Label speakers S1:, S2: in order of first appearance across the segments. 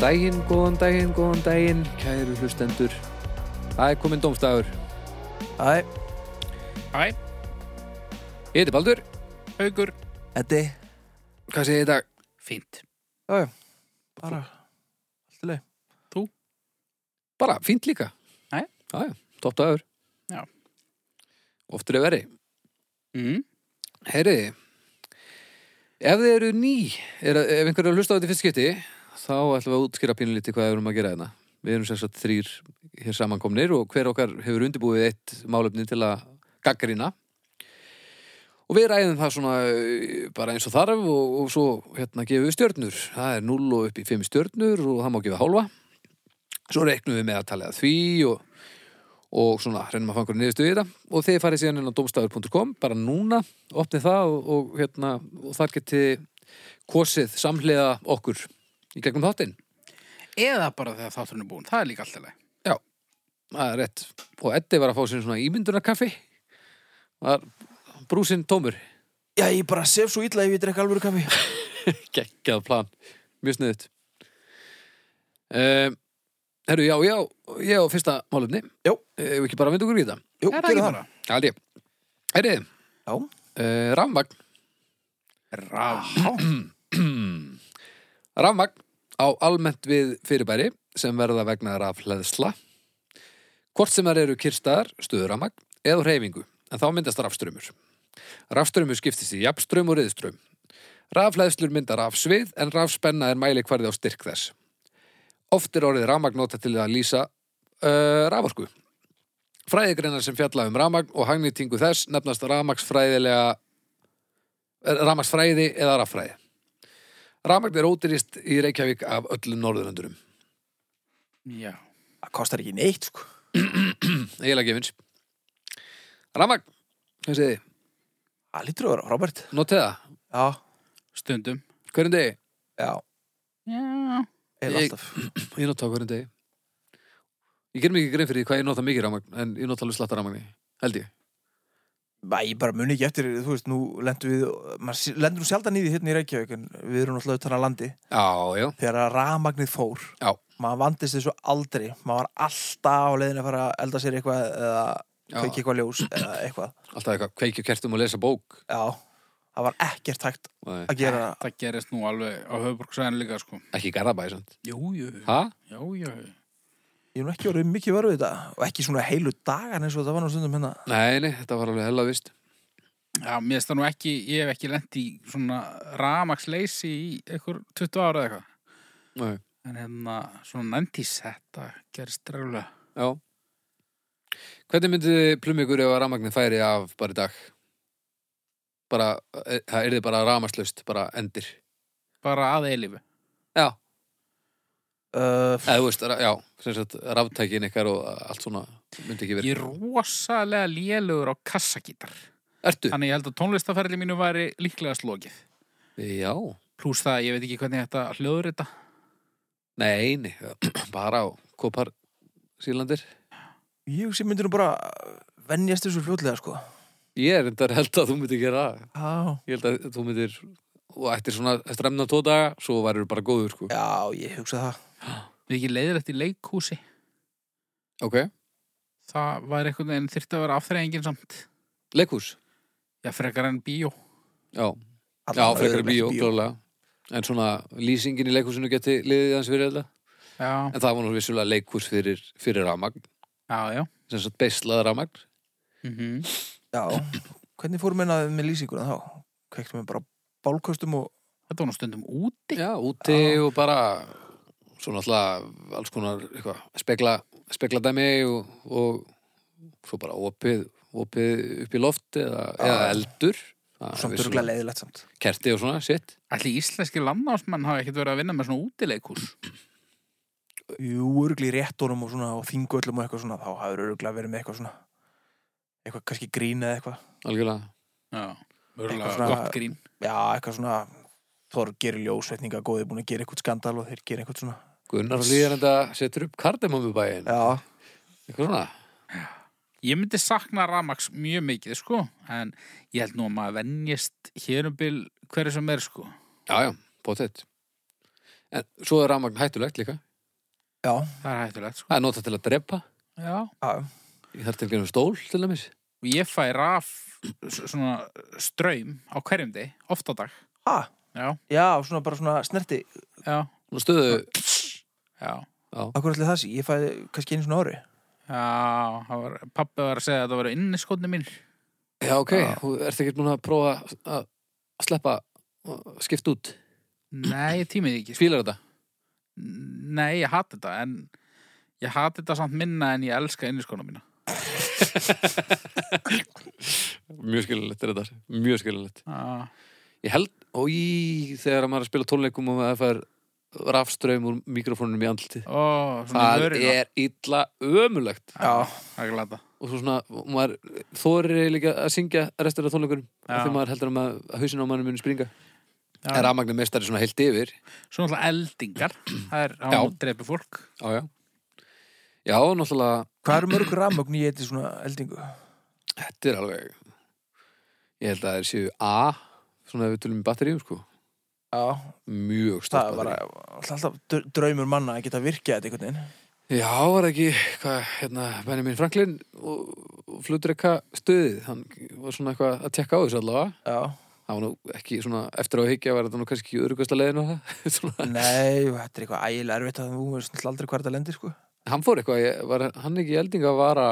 S1: daginn, góðan daginn, góðan daginn, kæru hlustendur. Það er kominn domstagur.
S2: Æ,
S3: Æ,
S1: Ég heiti Baldur.
S3: haugur,
S2: Eddi
S1: Hvað segir þið í dag?
S3: fínt.
S2: Æ, bara Allt í leið
S1: Bara, fínt líka.
S3: Jæja.
S1: Jæja, topp dagur.
S3: Já.
S1: Oftur er verið.
S3: Mm.
S1: Heyriði, ef þið eru ný, er, ef einhverju er að hlusta á þetta í fyrst skipti, þá ætlum við að útskýra pínlítið hvað við erum að gera hérna. Við erum sérstaklega þrýr hér samankomnir og hver okkar hefur undirbúið eitt málefni til að gaggrina. Og við ræðum það svona eh, bara eins og þarf og, og svo hérna gefum við stjörnur. Það er 0 og upp í 5 stjörnur og það má gefa hálfa. Svo reiknum við með að tala því og og svona reynum að fangur niðurstu í þetta og þið farið síðan inn á domstafur.com bara núna, opnið það og, og, hérna, og þar getið kosið samhliða okkur í gegnum þáttinn,
S3: Eða bara þegar þátturinn er búin, það er líka alltaf leið.
S1: það er rétt og Eddi var að fá sér svona ímyndunarkaffi var brúsinn tómur
S2: Já, ég bara sef svo illa ef ég drekka alvöru kaffi
S1: geggjað plan, mjög sniðut um, Herru, já, já, já, fyrsta málumni
S2: Jó.
S1: Ef ekki bara að vinda okkur í þetta
S2: Jú,
S3: er það
S2: gerðu
S3: ekki
S2: það
S3: bara?
S1: Aldi, herri,
S2: Já,
S1: uh, rafmagn
S3: Rá.
S1: Rafmagn á almennt við fyrirbæri sem verða vegna rafleðsla. Hvort sem þær eru kyrstaðar, stöður rafmagn eða á hreyfingu, en þá myndast rafströmmur. Rafströmmur skiptist í jafnströmm og riðströmm. Rafleðslur mynda rafsvið en rafspenna er mælikvarði á styrk þess. Oft er orðið rafmagn nota til að lýsa uh, raforku. Fræðigreinar sem fjalla um rafmagn og hagnýtingu þess nefnast rafmagsfræðilega eh, rafmagsfræði eða raffræði. Rafmagn er ódýrist í Reykjavík af öllum norðurlöndurum.
S3: Já.
S2: það kostar ekki neitt, sko
S1: Eila gefins. Rafmagn, hvað segið þið?
S2: Það lítur að vera, Robert
S1: Notið það,
S2: Já,
S3: Stundum.
S1: hverjum degi?
S2: já,
S3: Já.
S2: eða
S1: Ég-
S2: alltaf
S1: Ég nota það hverjum degi. Ég ger mikið grein fyrir því hvað ég nota mikið rafmagn, en ég nota alveg slatta rafmagni, held ég.
S2: Bæ, ég bara muni ekki eftir, þú veist, nú lendum við maður s- lendur nú sjaldan í því hérna í Reykjavík en við erum alltaf utan að landi
S1: Já, já,
S2: þegar að rafmagnið fór
S1: Já.
S2: maður vandist þessu aldrei maður var alltaf á leiðin að fara að elda sér eitthvað eða
S1: Já.
S2: kveiki eitthvað ljós eða eitthvað
S1: alltaf eitthvað kveikju kertum og lesa bók.
S2: já, það var ekkert hægt
S1: Nei,
S2: að gera það
S3: Það gerist nú alveg á höfbruksæðan líka, sko.
S1: Ekki garðabæði, sant?
S3: Jú, jú.
S1: Ha?
S3: Já, já.
S2: ég er nú ekki orðið mikið varuð þetta og ekki svona heilu dagan eins og það var nú stundum hérna
S1: Nei, nei, þetta var alveg hella vist.
S3: Já, mér finnst það nú ekki, ég hef ekki lent í svona rámaksleysi í einhver 20 ára eða eitthvað.
S1: Nei,
S3: En hérna, svona 90s, þetta gerist drægulega.
S1: já. Hvernig myndið þið plumma ykkur ef að rafmagnin færi af bara í dag? Bara, eh, það er þið bara rafmagnslaust, bara endir.
S3: Bara að eilifu.
S1: Já,
S2: uh,
S1: eða þú veist, ra- já, sem sagt ráftækin ykkar og allt svona myndi ekki verið.
S3: Ég er rosalega lélugur á kassagítar.
S1: Ertu?
S3: Þannig ég held að tónlistaferli mínu væri líklega slókið.
S1: Já,
S3: Plús það, að ég veit ekki hvernig þetta hljóður þetta.
S1: nei, nei, bara á kopar sílandir.
S2: ég sem myndir nú bara uh, venjast þessu fljótlega sko
S1: Ég er endar held að þú myndir gera það.
S2: já,
S1: Ég held að þú myndir, og eftir svona, eftir emna tvo daga, svo værið bara góður, sko.
S2: já ég hugsa það
S3: Við ekki leiðilegt í leikhúsi.
S1: Ok,
S3: Það var einhvern veginn þyrfti að vera afþreyingin samt.
S1: leikús,
S3: Já, frekar en bíó.
S1: já. Já,
S2: Allavega
S1: frekar
S2: öðrum
S1: bíó,
S2: ekki
S1: klálega En svona lýsingin í leikhúsinu geti liðið hans fyrir þetta
S3: Já,
S1: En það var nú vissulega leikhús fyrir, fyrir rafmagn
S3: já, já.
S1: sem svo beislað rafmagn
S3: Mm
S2: já, hvernig fórum við með lýsinguna þá kvektum við bara á bálköstum og
S3: Þetta var nú stundum úti.
S1: Já, úti og bara svona alltaf alls konar eitthva, spekla, spekla dæmi og, og svo bara opið, opið upp í loft eða,
S2: Já.
S1: eða eldur Það er
S2: samt
S1: vissulega
S2: örgulega leiðilegt samt
S1: Kerti og svona, sitt
S3: Allir íslenski landnámsmenn hafa ekkert verið að vinna með svona útileikhús.
S2: Jú, örgli réttunum og svona og þingöllum og eitthvað svona, þá hafur örgla verið með eitthvað svona eitthvað kannski grín eða eitthvað
S1: Algjörlega
S3: Já,
S2: Eitthvað
S3: mörgulega
S2: svona-
S3: gott grín.
S2: já, eitthvað svona, þóður gerir ljósveitninga góði búin að gera eitthvað skandal og þeir gera eitthvað svona
S1: Gunnar og Líðar enda setur upp kardemamubæin
S2: já,
S1: Eitthvað svona
S3: Ég myndi sakna rafmaks mjög mikið, sko. En ég held nú að maður venjist hér um bil hverju sem er, sko.
S1: Já, já, bóttið. En svo er rafmagn hættulegt líka.
S2: Já,
S3: Það er hættulegt, sko.
S1: Það er notað til að drepa.
S3: Já.
S2: já,
S1: Ég þarf til að gera stól til dæmis.
S3: Og ég fæ raf s- svona ströym á hverjum deg, oft á dag.
S2: ha,
S3: Já,
S2: já, svona bara svona snerti
S3: já,
S1: Nú stöðu,
S3: já.
S2: Akkur allir það sé, ég fæði kannski einu svona ári
S3: Já, það var, pappi var að segja að það var inniskotni mín.
S1: já ok,
S2: Já.
S1: þú ert ekki múin að prófa að að sleppa, að skipta út.
S3: Nei, ég tímið ekki. sko.
S1: Fílar þetta?
S3: Nei, ég hati þetta, en ég hati þetta samt minna en ég elska inniskotna mína.
S1: Mjög skiljanlegt er þetta. Mjög skiljanlegt.
S3: Já,
S1: Ég held, og í þegar maður er að spila tónleikum og maður fær rafströym úr mikrofónunum í andliti.
S3: ó, svona
S1: Það
S3: í vörina.
S1: er illa ömulegt.
S3: Já, það er glata.
S1: Og svo svona, maður þórir líka að syngja restur af tónleikunum.
S3: Já.
S1: Þegar maður heldur að, maður, að hausin á mannum muni springa.
S3: Já.
S1: En rafmagnum mestari svona heilt yfir.
S3: Svo náttúrulega eldingar, það er,
S1: Já.
S3: hann dreipir fólk.
S1: Já, já. Já, náttúrulega,
S2: Hvað eru mörg rammögn í eitthvað svona eldingu?
S1: þetta er alveg, ég held að það séu A, svona ef við tölum í batteríum, sko.
S2: Já,
S1: Mjög
S2: það
S1: stórt
S2: var
S1: batterí.
S2: alltaf dr- draumur manna að geta virkjað þetta einhvern veginn
S1: Já, var það ekki, hvað, hérna, Benjamin Franklin og, og flutrekka stöðið, hann var svona eitthvað að tekka á þessu allavega.
S2: Já,
S1: Það var nú ekki svona, eftir á að higgja var þetta nú kannski ekki örugasta leiðin á það. svona,
S2: nei, og þetta er eitthvað ægilega erfitt að þú veist náttúrulega aldrei hvað þetta lendir sko
S1: hann fór eitthvað, ég, var, hann ekki í eldinga að vara,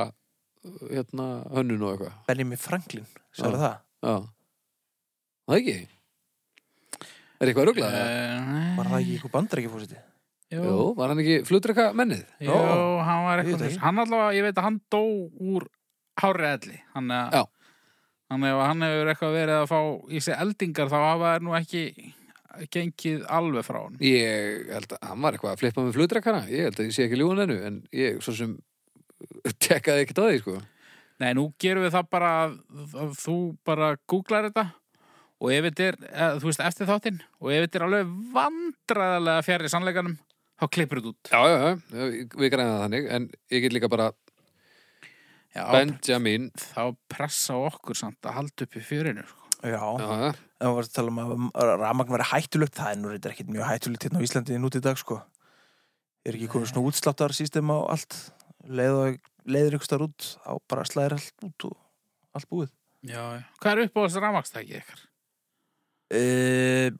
S1: hérna, hönnun og eitthvað.
S2: Benjamin Franklin,
S1: Já.
S2: sér það
S1: Já. Það ekki? Er eitthvað ruglað?
S2: Eh,
S1: eða?
S2: Var það ekki eitthvað bandar ekki fórsiti?
S3: Eh, Jú,
S1: Jú, var hann ekki flutrekka mennið?
S3: jú, hann var
S2: Ég veit
S3: eitthvað
S2: ekki.
S3: þess. Hann allavega, ég veit að hann dó úr hárið elli. Hann, eh,
S1: Já.
S3: hann, ef hann hefur eitthvað verið að fá í sig eldingar, þá hafa þær nú ekki gengið alveg frá hann.
S1: Ég held að hann var eitthvað að flippa með flutrekkana Ég held að ég sé ekki ljúan ennu En ég svo sem tekkaði ekkert á því sko.
S3: Nei, nú gerum við það bara að, að þú bara googlar þetta og ef þetta er, eða, þú veist, eftir þáttinn og ef þetta er alveg vandræðalega fjarið sannleikanum, þá klippur þetta út.
S1: Já, já, já, við græðum það þannig En ég get líka bara
S3: Já,
S1: Benjamin
S3: þá pressa á okkur samt að halda upp í fjörinu. sko.
S2: Já,
S1: já, já.
S2: en þú varst að tala um að rammögn verið hættulegt það er nú reyndar ekkit mjög hættulegt hérna á Íslandi nút í dag sko Er ekki komið svona útsláttar á allt Leiða, leiðir ykkur starf út á bara slæðir allt út og allt búið
S3: Já, já. Hvað er upp á þessu rafmakstæki ykkar?
S2: Eh,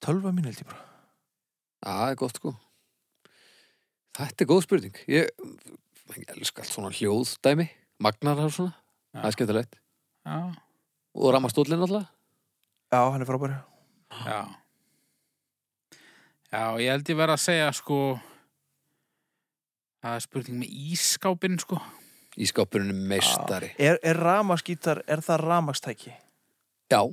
S2: Tölva mín held ég bara
S1: Já, það er gott sko Þetta er góð spurning Ég, ég elska allt svona hljóðdæmi Magnar og svona,
S3: Já.
S1: það er skemmtilegt
S3: Já,
S1: Og rammastóllin alltaf
S2: Já, hann er frábæri
S3: já. Já, ég held ég verið að segja, sko, það er spurning með ískápinn, sko.
S1: Í skápurinu meistari
S2: Ah, Er, er ramaskítar, er það ramastæki?
S1: Já,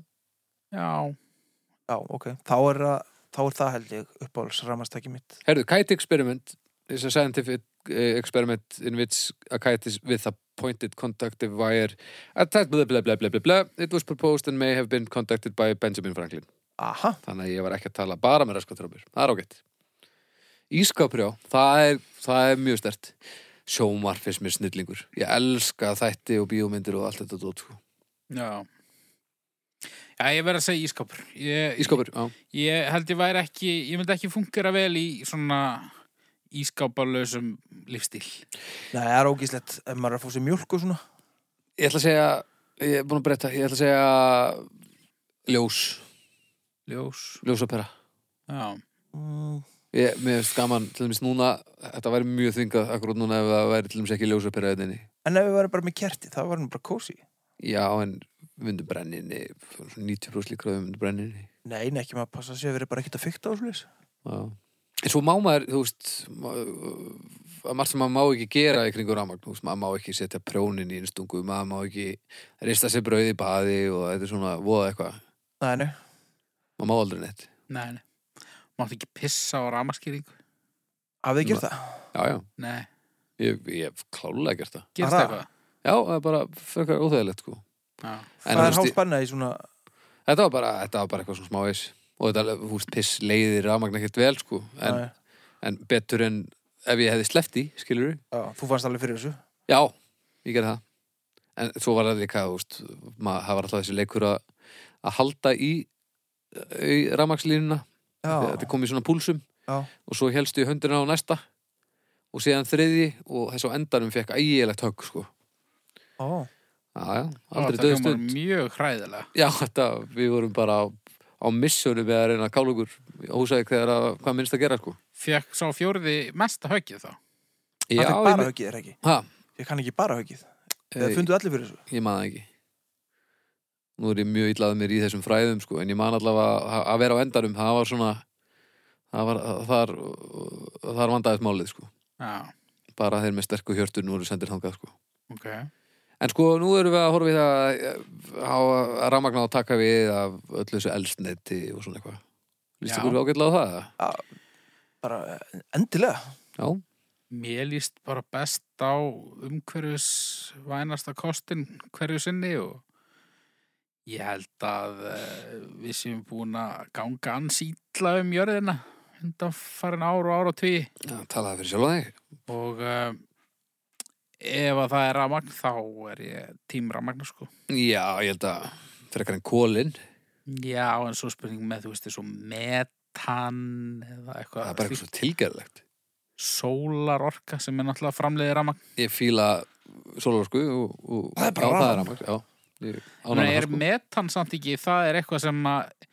S3: Já,
S2: Já, ok Þá er, það- þá er það held ég uppáhalds ramastæki mitt
S1: Herðu, kite experiment is a scientific eh, experiment in which a kite is with a pointed conductive wire attached blah blah blah blah blah blah it was proposed and may have been conducted by Benjamin Franklin
S2: Aha,
S1: þannig að ég var ekki að tala bara með raskatrömmur það er ágætt Ískaprjá, það er, það er mjög stert sjómar fyrst mér snillingur ég elska þætti og bíómyndir og allt þetta dót sko.
S3: já. Já, ég verið að segja ískápur. Ég,
S1: Ískapur, já
S3: Ég held ég væri ekki, ég myndi ekki fungera vel í svona ískáparlausum lífstíl.
S2: Nei, það er ógíslegt ef maður er að fá sér mjölk og svona
S1: ég ætla að segja, ég er búin að breyta ég ætla að segja ljós,
S3: Ljós.
S1: ljósapera
S3: Já,
S2: mm,
S1: Ég, mér finnst gaman, til dæmis núna þetta væri mjög þvingað akkurat núna ef það væri til dæmis ekki ljósapera ljósapyrraðinni
S2: En ef við varum bara með kerti, það varum bara kósi
S1: Já, en við myndum brenninni 90% líkra við myndum brenninni
S2: Nei, nei, ekki maður passa sér, við erum bara ekkert að fykta á slis
S1: Já. En svo má maður, þú veist ma- að margt sem maður má ekki gera í kringu rafmagn, þú veist, maður má ekki setja prjónin í innstungu, maður má ekki rista sér brauð í baði og þetta er svona voða eitthvað,
S2: Nei, nei,
S1: maður má aldrei neitt
S3: nei, nei. Máttu ekki pissa á ramaskýringu?
S2: hafið þið gert það?
S1: Já, já,
S3: Nei.
S1: ég, ég hef klálega gert það
S3: Gerst
S2: Bara?
S3: eitthvað?
S1: Já, það er bara frekar óþægilegt sko
S3: Já.
S1: En
S2: það
S1: þú
S2: er
S1: veist,
S2: hálf bannað í svona
S1: Þetta var bara, þetta var bara eitthvað svona smávegis og þetta, þú veist, piss leiðir rafmagn ekkert vel, sko en,
S2: Nei,
S1: en betur en ef ég hefði sleppt í, skilur við
S2: já, Þú fannst alveg fyrir þessu
S1: Já, ég gerði það En svo var það líka, þú veist maður, það var alltaf þessi leikur að að halda í, í rafmagnslínuna þetta kom í svona púlsum
S2: Já.
S1: og svo helstu í höndina á næsta og síðan þriði og þess á endanum fekk ægilegt högg sko.
S2: Ó,
S1: Já, já, aldrei
S3: Þetta
S1: döð
S3: hljómar
S1: stund
S3: mjög hræðilega.
S1: Já, þetta, við vorum bara á, á missjónu við að reyna að kála okkur á húsæk þegar að, hvað minnst að gera sko.
S3: Fekk sá fjórði mesta höggið þá.
S1: Já,
S2: hann fekk
S1: ég,
S2: bara
S1: me-
S2: höggið, er ekki?
S1: ha,
S2: Ég kann ekki bara höggið. Eða
S1: ég,
S2: fundu allir fyrir þessu?
S1: ég man það ekki Nú er ég mjög illað mér í þessum fræðum sko, en ég man allavega að, að vera á endanum það var svona það var, þar, þar vandaðist málið sko.
S3: Já,
S1: bara þeir með sterku hjörtur nú eru sendir þangað sko.
S3: ok.
S1: En sko, nú erum við að horfa í það að- að rammagna og taka við af öllu þessu elsneiti og svona eitthvað. Lýst
S3: Já.
S1: ykkur ágætlega á það? eða?
S2: Bara eh, endilega.
S1: Já,
S3: Mér líst bara best á umhverjus vænasta kostin hverju sinni og ég held að uh, við séum búin að ganga ansýtla um jörðina undan farin ár og ár og tví
S1: Já talaði fyrir sjálf að þig.
S3: og uh, ef að það er rafmagn þá er ég tím rafmagn sko.
S1: Já, ég held að frekar en kólin.
S3: Já, en svo spurning með þú veist þessu metan eða
S1: Það
S3: eitthvað
S1: er bara eitthvað svo tilgerðlegt.
S3: sólarorka sem er náttúrulega framleiði rafmagn
S1: Ég fíla sólarsku og, og...
S2: Það er bara
S1: Já, það er
S2: rafmagn.
S1: rammagn. Já, ég
S3: Þannig
S1: ánægði
S3: er
S1: það sko.
S3: metan samt ekki, það er eitthvað sem að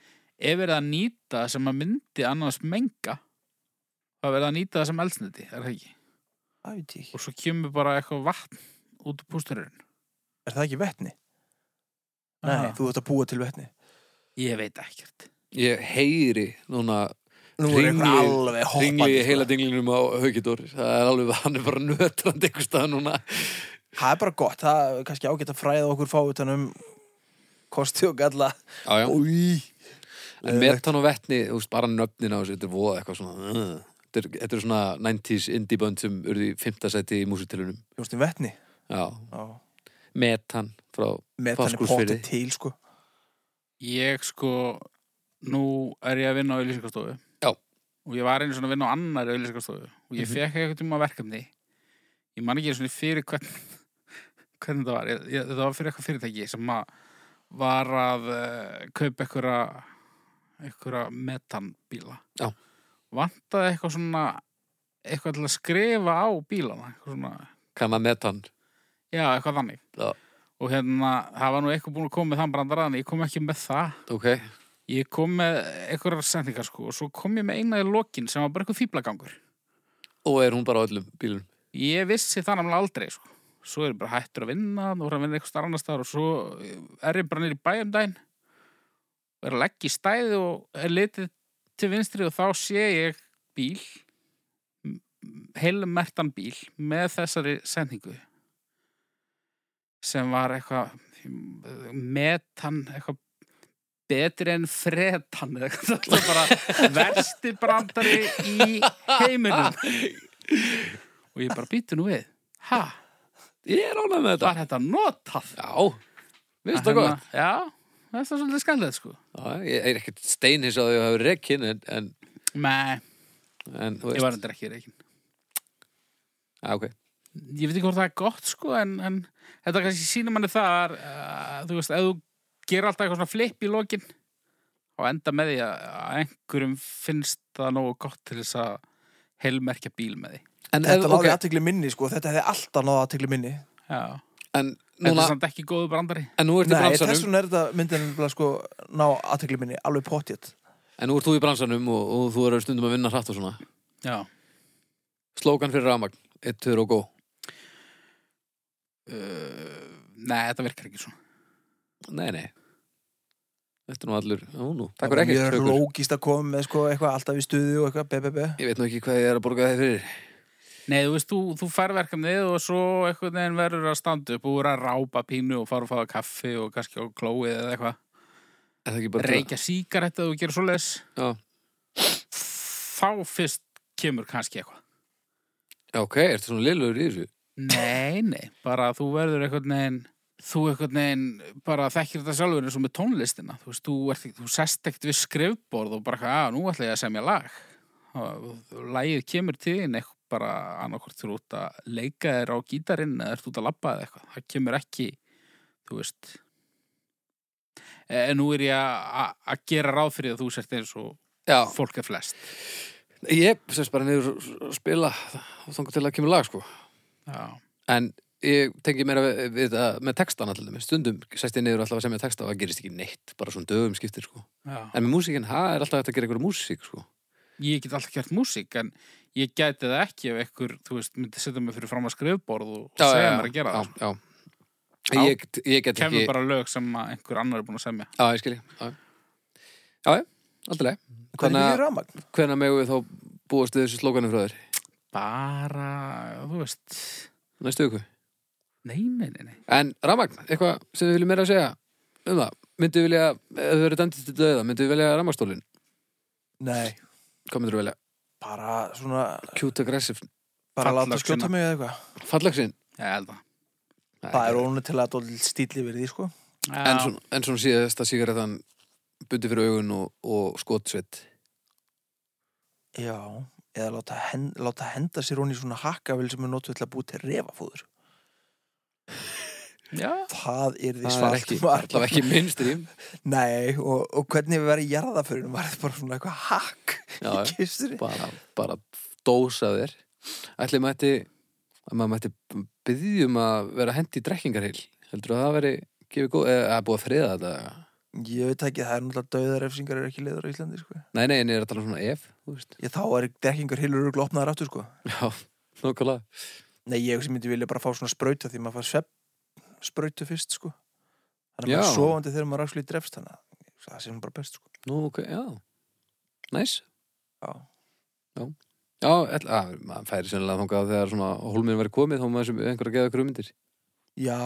S3: ef verið að nýta sem að myndi annars menga það verið að nýta það sem elsniti, er það ekki?
S2: Það veit ég ekki.
S3: Og svo kemur bara eitthvað vatn út úr pústurinn.
S2: Er það ekki vetni? Nei, þú ert að búa til vetni.
S3: Ég veit ekkert.
S1: Ég heyri núna
S2: Nú er
S1: Hringli-
S2: eitthvað alveg
S1: ringli
S2: hoppandi.
S1: í heila
S2: sko.
S1: dinglinum á Haukidór. Það er alveg, hann er bara nötrandi einhvers staðar núna.
S2: Það er bara gott. Það er kannski ágætt að fræða okkur fá utan um kosti og galla.
S1: Já, já.
S2: Új.
S1: En metan og vetni, þú veist, bara nöfnin á þessu, þetta er voða eitthvað svona uh. Þetta er- Þetta er svona 90s indie band sem urði í fimmta sæti í músitilunum
S2: Jónstin vetni.
S1: Já,
S2: Já.
S1: metan frá
S2: Metan er
S1: Fáskrúðsfirði.
S2: potið til, sko.
S3: Ég sko, nú er ég að vinna á auðlýsingastofu.
S1: Já.
S3: Og ég var einu svona að vinna á annar auðlýsingastofu og ég
S1: Mhm.
S3: fekk eitthvað um að verkefni. Ég man ekki svona fyrir hvern, hvernig það var. Ég, ég, það var fyrir eitthvað fyrirtæki sem að var að uh, kaupa einhverja einhverja metanbíla.
S1: Já.
S3: Vantaði eitthvað svona eitthvað til að skrifa á bílana. Eitthvað svona,
S1: Kanna metan
S3: já, eitthvað þannig.
S1: Já.
S3: Og hérna, það var nú eitthvað búin að koma með þann brandaraðan, ég kom ekki með það.
S1: Ok,
S3: Ég kom með einhverjar sendingar sko og svo kom ég með eina í lokin sem var bara eitthvað fýblagangur.
S1: og er hún bara á öllum bílum
S3: Ég vissi það namlega aldrei sko. Svo er ég bara hættur að vinna, þú voru að vinna eitthvað starf annar staðar og svo eh, er ég bara nýr í bæjum daginn og er að leggja í stæði og er litið til vinstri og þá sé ég bíl, m- m- heilmertan bíl með þessari sendingu sem var eitthvað metan, eitthvað betri en fretan eða eitthvað þetta var bara versti brandari í heiminum og ég bara býtu nú við ha,
S1: Ég er ánægð með þetta
S3: var þetta notað
S1: Já, veist það
S3: Hérna,
S1: gott
S3: já, það er svolítið skallið sko
S1: Já, Ég er ekkert steinhins að þau hafa rekkin en, en,
S3: nei,
S1: en þú
S3: ég var
S1: veist
S3: endur ekki reikin
S1: Já, ok
S3: ég veit ekki hvort það er gott sko en, en þetta kannski sýnir manni það uh, þú veist, ef þú gerir alltaf eitthvað svona flip í lokin og enda með því að að einhverjum finnst það nógu gott til þess að heilmerkja bíl með því
S1: En, ef,
S2: Þetta náði
S1: okay.
S2: aðtegli minni, sko. Þetta hefði alltaf náði aðtegli minni.
S3: já,
S1: en,
S3: þetta
S1: núna,
S3: er samt ekki góðu brandari
S1: en nú ertu í
S2: Nei, þess
S1: bransanum
S2: vegna er þetta myndin bara, sko, ná aðtegli minni alveg potið.
S1: En nú ert þú í bransanum og, og þú eru stundum að vinna hratt og svona
S3: já,
S1: Slókan fyrir rafmagn, eitt, tvör og gó
S3: uh, nei, þetta virkar ekki svona
S1: Nei, nei Þetta er nú allur, já nú,
S2: Það
S1: takkur
S2: var
S1: ekkert
S2: Mjög
S1: tökur.
S2: lógist að koma með, sko, eitthvað alltaf í stuði og eitthvað, BBB.
S1: Ég veit nú ekki hvað ég er að borga þeir fyrir
S3: nei, þú veist, þú, þú fær verkefnið og svo einhvern veginn verður að standa upp og verður að rápa pínu og fara og fáða kaffi og kannski á klóið eða eitthvað
S1: Er það ekki bara
S3: reykja sígarettu og gera svoleiðis
S1: Já.
S3: þá fyrst kemur kannski eitthvað
S1: Já, ok, ertu svona liðlegur í þessu
S3: nei, nei, bara þú verður einhvern veginn þú einhvern veginn bara þekkir þetta sjálfur eins og með tónlistina þú veist, þú, ert, ekki- þú sest ekkert við skrifborð og bara, að nú ætla ég að semja lag lægið kemur til þín eitthvað bara annarkvort þú út að leika þér á gítarinn eða ert út að labba eða eitthvað það kemur ekki, þú veist en nú er ég að- að að gera ráð fyrir að þú sért eins og
S1: Já,
S3: fólk er flest
S1: ég semst bara niður og spila og þangar til að kemur lag sko
S3: já,
S1: en ég tengi meira við, við þetta með textan allir stundum sæst ég niður alltaf að semja texta og það gerist ekki neitt, bara svona dögum skiptir sko
S3: já.
S1: en með músíkinn, það er alltaf hægt að gera einhverja músík sko
S3: ég get alltaf gert músík en ég gæti það ekki ef ekkur þú veist, myndi setja mig fyrir fram að skrifborð og, og segja mér að gera
S1: já,
S3: það sko.
S1: já.
S3: Já.
S1: Ég, ég get
S3: kemur
S1: ekki
S3: bara lög sem að einhver annar er búin að semja
S1: Já, ég skilji Já, já, já alltaf leið
S2: Hvernig
S1: Þannig
S2: er
S1: að-
S2: ekki rafmagn?
S1: Hvenær megum við þá búast við þessu slókanum frá þér?
S3: bara, þú veist
S1: Næstu ykkur
S3: nei, nei, nei, nei.
S1: En Ramagn, eitthvað sem við viljum meira að segja um það Myndu vilja, ef þau eru dæmdið til döða Myndu vilja Ramagstólin?
S2: Nei,
S1: Hvað myndur velja?
S2: bara svona
S1: Cute aggressive
S2: bara láta
S3: Fallöxina.
S2: skjóta mig eða eitthvað
S1: Fallagsinn?
S3: ég held það
S2: Það er ónum til að dólið stíli verið því sko
S1: En svona, en svona síðast að sigaretan bundi fyrir augun og, og skotsveit
S2: Já, eða láta, hen, láta henda sér hún í svona hakkavil sem er notuð til að búið til refafúður
S3: já,
S2: Það er því
S1: Það er
S2: svart
S1: ekki,
S2: var.
S1: allavega ekki minnstri
S2: Nei, og, og hvernig við verið jarðaförinu var þetta bara svona eitthvað hakk
S1: Já,
S2: í kistunni
S1: bara, bara dósa þér Ætli mætti að maður mætti byggjum að vera hendi í drekkingarheil heldur að það veri gefið góð eða að búa að friða þetta
S2: Ég veit ekki, það er náttúrulega döðarefsingar er ekki leiður á Íslandi sko
S1: Nei, nei, en ég er að tala um svona ef þú veist.
S2: Ég þá er dekkingar hilur og glopnaðar aftur sko
S1: Já, nokkulega
S2: Nei, ég sem myndi vilja bara fá svona sprauta því maður fær svepp sprautu fyrst sko
S1: Já.
S2: Þannig að maður er sofandi þegar maður rafslu í drefst þannig að það sé bara best sko
S1: Nú, ok, já Næs
S2: Já.
S1: Já, ætla, að, maður færi sennilega þangað þegar svona hólminn verið komið þá maður sem einhver að geða grumundir
S2: Já,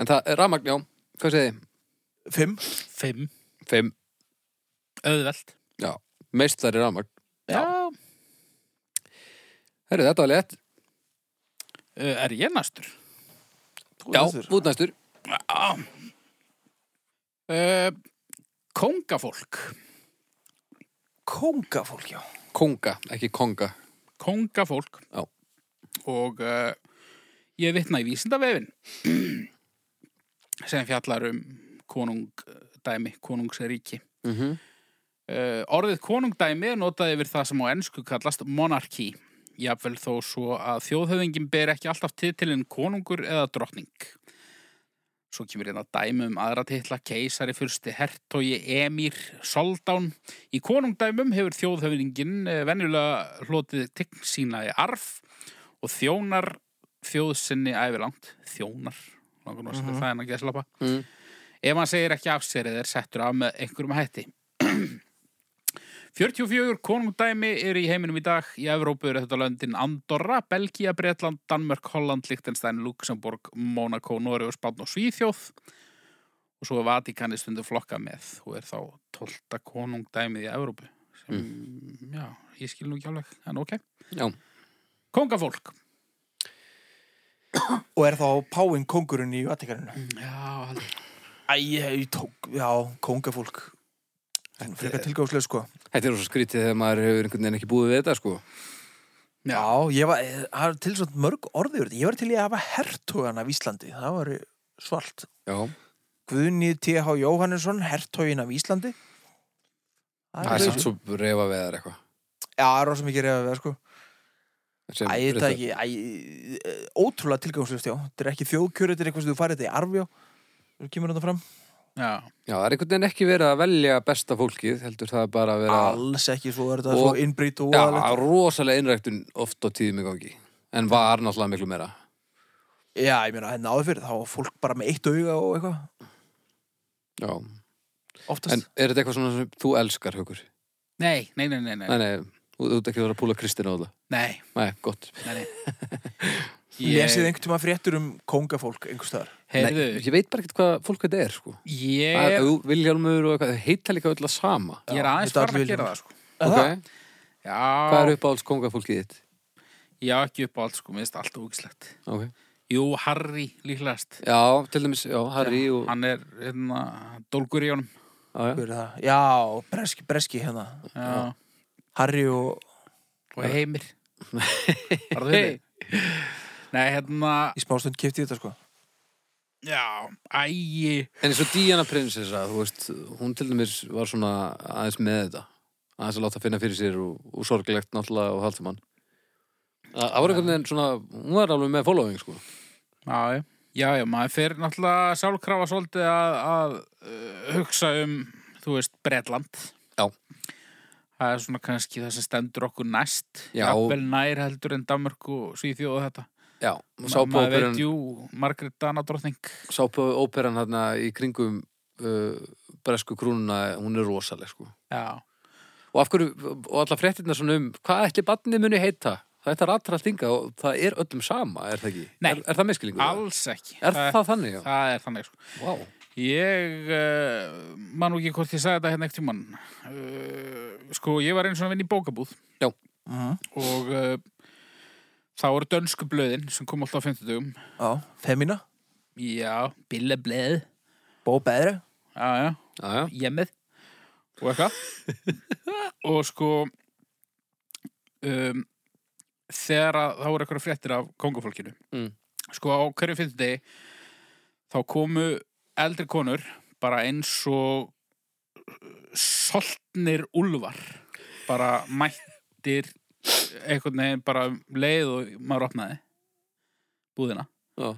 S1: En það er rafmagn, já, hvað segið þið?
S2: fimm
S3: fimm,
S1: Fimm,
S3: auðveld
S1: meist þar er rafmagn
S3: já,
S1: Herri, þetta var létt,
S3: Uh, er ég næstur?
S2: Þú
S1: já,
S2: veist þér.
S1: út næstur
S3: Já uh, Kóngafólk
S2: Kóngafólk, já
S1: Konga, ekki konga
S3: Kóngafólk
S1: Já.
S3: Og uh, ég vitna í vísindavefin sem fjallar um konungdæmi, konungsríki
S1: mm
S3: Uh, orðið konungdæmi er notað yfir það sem á ennsku kallast monarki jafnvel þó svo að þjóðhöfðingin ber ekki alltaf titilinn konungur eða drottning svo kemur hérna dæmi um aðra titla keisari fyrsti hertogi emir soldán í konungdæmum hefur þjóðhöfðingin eh, venjulega hlotið tign sína í arf og þjónar þjóðsynni æfilangt þjónar, langar nú að setja
S2: Mhm.
S3: það en að geðslapa
S1: mm.
S3: ef hann segir ekki af sér eða er settur af með einhverjum hætti. 44 konungdæmi eru í heiminum í dag. Í Evrópu eru þetta löndin Andorra, Belgía, Bretland, Danmörk, Holland, Liechtenstein, Luxemburg, Mónakó, Noreg og Spán og Svíþjóð. Og svo er Vatikani stundu flokka með og er þá 12 konungdæmið í Evrópu. Sem, Já, ég skil nú ekki alveg, en ok.
S1: Já.
S3: Kongafólk.
S2: Og er þá páinn kóngurinn í Vatikaninu
S3: Já, held
S2: Æ, ég tók, já, kóngafólk Þetta er frekar tilgáðslega, sko
S1: Þetta er svo skrítið þegar maður hefur einhvern veginn ekki búið við þetta sko.
S2: Já, ég var, eh, það er til svo mörg orðið yfir þetta. Ég var til í að hafa hertogana af Íslandi Það var svalt
S1: Já,
S2: Guðni T.H. Jóhannesson, hertogin af Íslandi
S1: það er
S2: er
S1: samt svo reyfa við þar eitthvað.
S2: Já, það er rosa mikið reyða við, það, sko
S1: Sem-
S2: Æ, þetta er ekki, æ, eh, ótrúlega tilgangslust, já Þetta er ekki þjóðkjör, þetta er eitthvað sem þú farið þetta í arfjá Þú kemur þetta fram
S3: Já,
S1: Já, það er einhvern veginn ekki verið að velja besta fólkið, heldur það er bara að vera...
S2: Alls ekki, svo er þetta
S1: Og-
S2: svo innbrýtt og
S1: Já,
S2: voðalegt.
S1: rosalega innræktun oft á tíðum í gangi. En var náttúrulega miklu meira.
S2: Já, ég meina, hérna áður fyrir, þá var fólk bara með eitt auga og eitthvað,
S1: Já,
S2: oftast.
S1: en er þetta eitthvað svona sem þú elskar, Haukur?
S3: nei, nei, nei, nei,
S1: Nei,
S3: nei,
S1: nei, þú þú ert ekki að vera að púla Kristina á það.
S3: nei,
S1: Nei, gott.
S3: nei, nei.
S2: Lesið einhvern tíma fréttur um kóngafólk einhvers staðar.
S3: Heyrðu,
S1: Nei, ég veit bara ekkert hvað fólk þetta er, sko. Það
S3: Ég,
S1: er Vilhjálmur og eitthvað, þau heita líka öll að sama.
S3: ég er aðeins
S2: þetta er
S3: farin að
S2: allir
S3: gera það sko.
S1: Ok,
S2: Okay.
S3: Já,
S1: hvað er uppáhalds kongafólkið þitt?
S3: ég á ekki upp á allt sko, minnst allt ógislegt
S1: Ok.
S3: Jú, Harry líklegast
S1: Já, til dæmis, já, Harry og...
S3: Hann er, hérna, dólgur í honum
S1: Já, já.
S2: Hver er það? Já, breski, breski hérna.
S3: Já,
S2: Harry og,
S3: og heimir Var það
S1: Hey.
S3: heimir? Nei, hérna,
S2: í smástund kefti þetta, sko.
S3: já, ægi
S1: En eins og Diana prinsessa, þú veist, hún til dæmis var svona aðeins með þetta. aðeins að láta finna fyrir sér og, og sorglegt náttúrulega og halda mann Það var einhvern veginn svona, hún var alveg með following sko
S3: Já, já. já, já, maður fer náttúrulega sálkrafa svolítið að, að uh, hugsa um, þú veist, Bretland.
S1: Já.
S3: Það er svona kannski það sem stendur okkur næst.
S1: Já.
S3: Jafnvel nær heldur en Danmark og Svíþjóð og þetta.
S1: Já,
S3: Ma- Maður
S1: sápóperan
S3: veit jú, Margrét Danadrottning.
S1: sápóperan hérna í kringum uh, bresku krúnuna, hún er rosaleg sko
S3: Já.
S1: og af hverju, og alla fréttina svona um hvað ætli barnið muni heita þetta er allra stinga og það er öllum sama er það ekki,
S3: Nei.
S1: er, er það miskilingur
S3: Alls ekki.
S1: er það, þannig, já,
S3: það er þannig, sko.
S1: vá
S3: Ég uh, man nú ekki hvort ég sagði þetta hérna ekkert í mann. Uh, sko, ég var einu svona að vinna í bókabúð
S2: Mhm.
S3: og uh, þá voru dönsku blöðin sem kom alltaf á 50 dögum.
S2: Já, Femina,
S3: Já, Bille bleð.
S2: Bó Bedre
S3: Já, já,
S1: já, já,
S3: jemmið. Og eitthvað. og sko, um, þegar að, það voru eitthvað fréttir af kongafólkinu.
S1: Mm.
S3: Sko, á hverjum 50 degi þá komu eldri konur bara eins og uh, soltnir úlfar bara mættir einhvern veginn bara um leið og maður opnaði búðina
S1: já.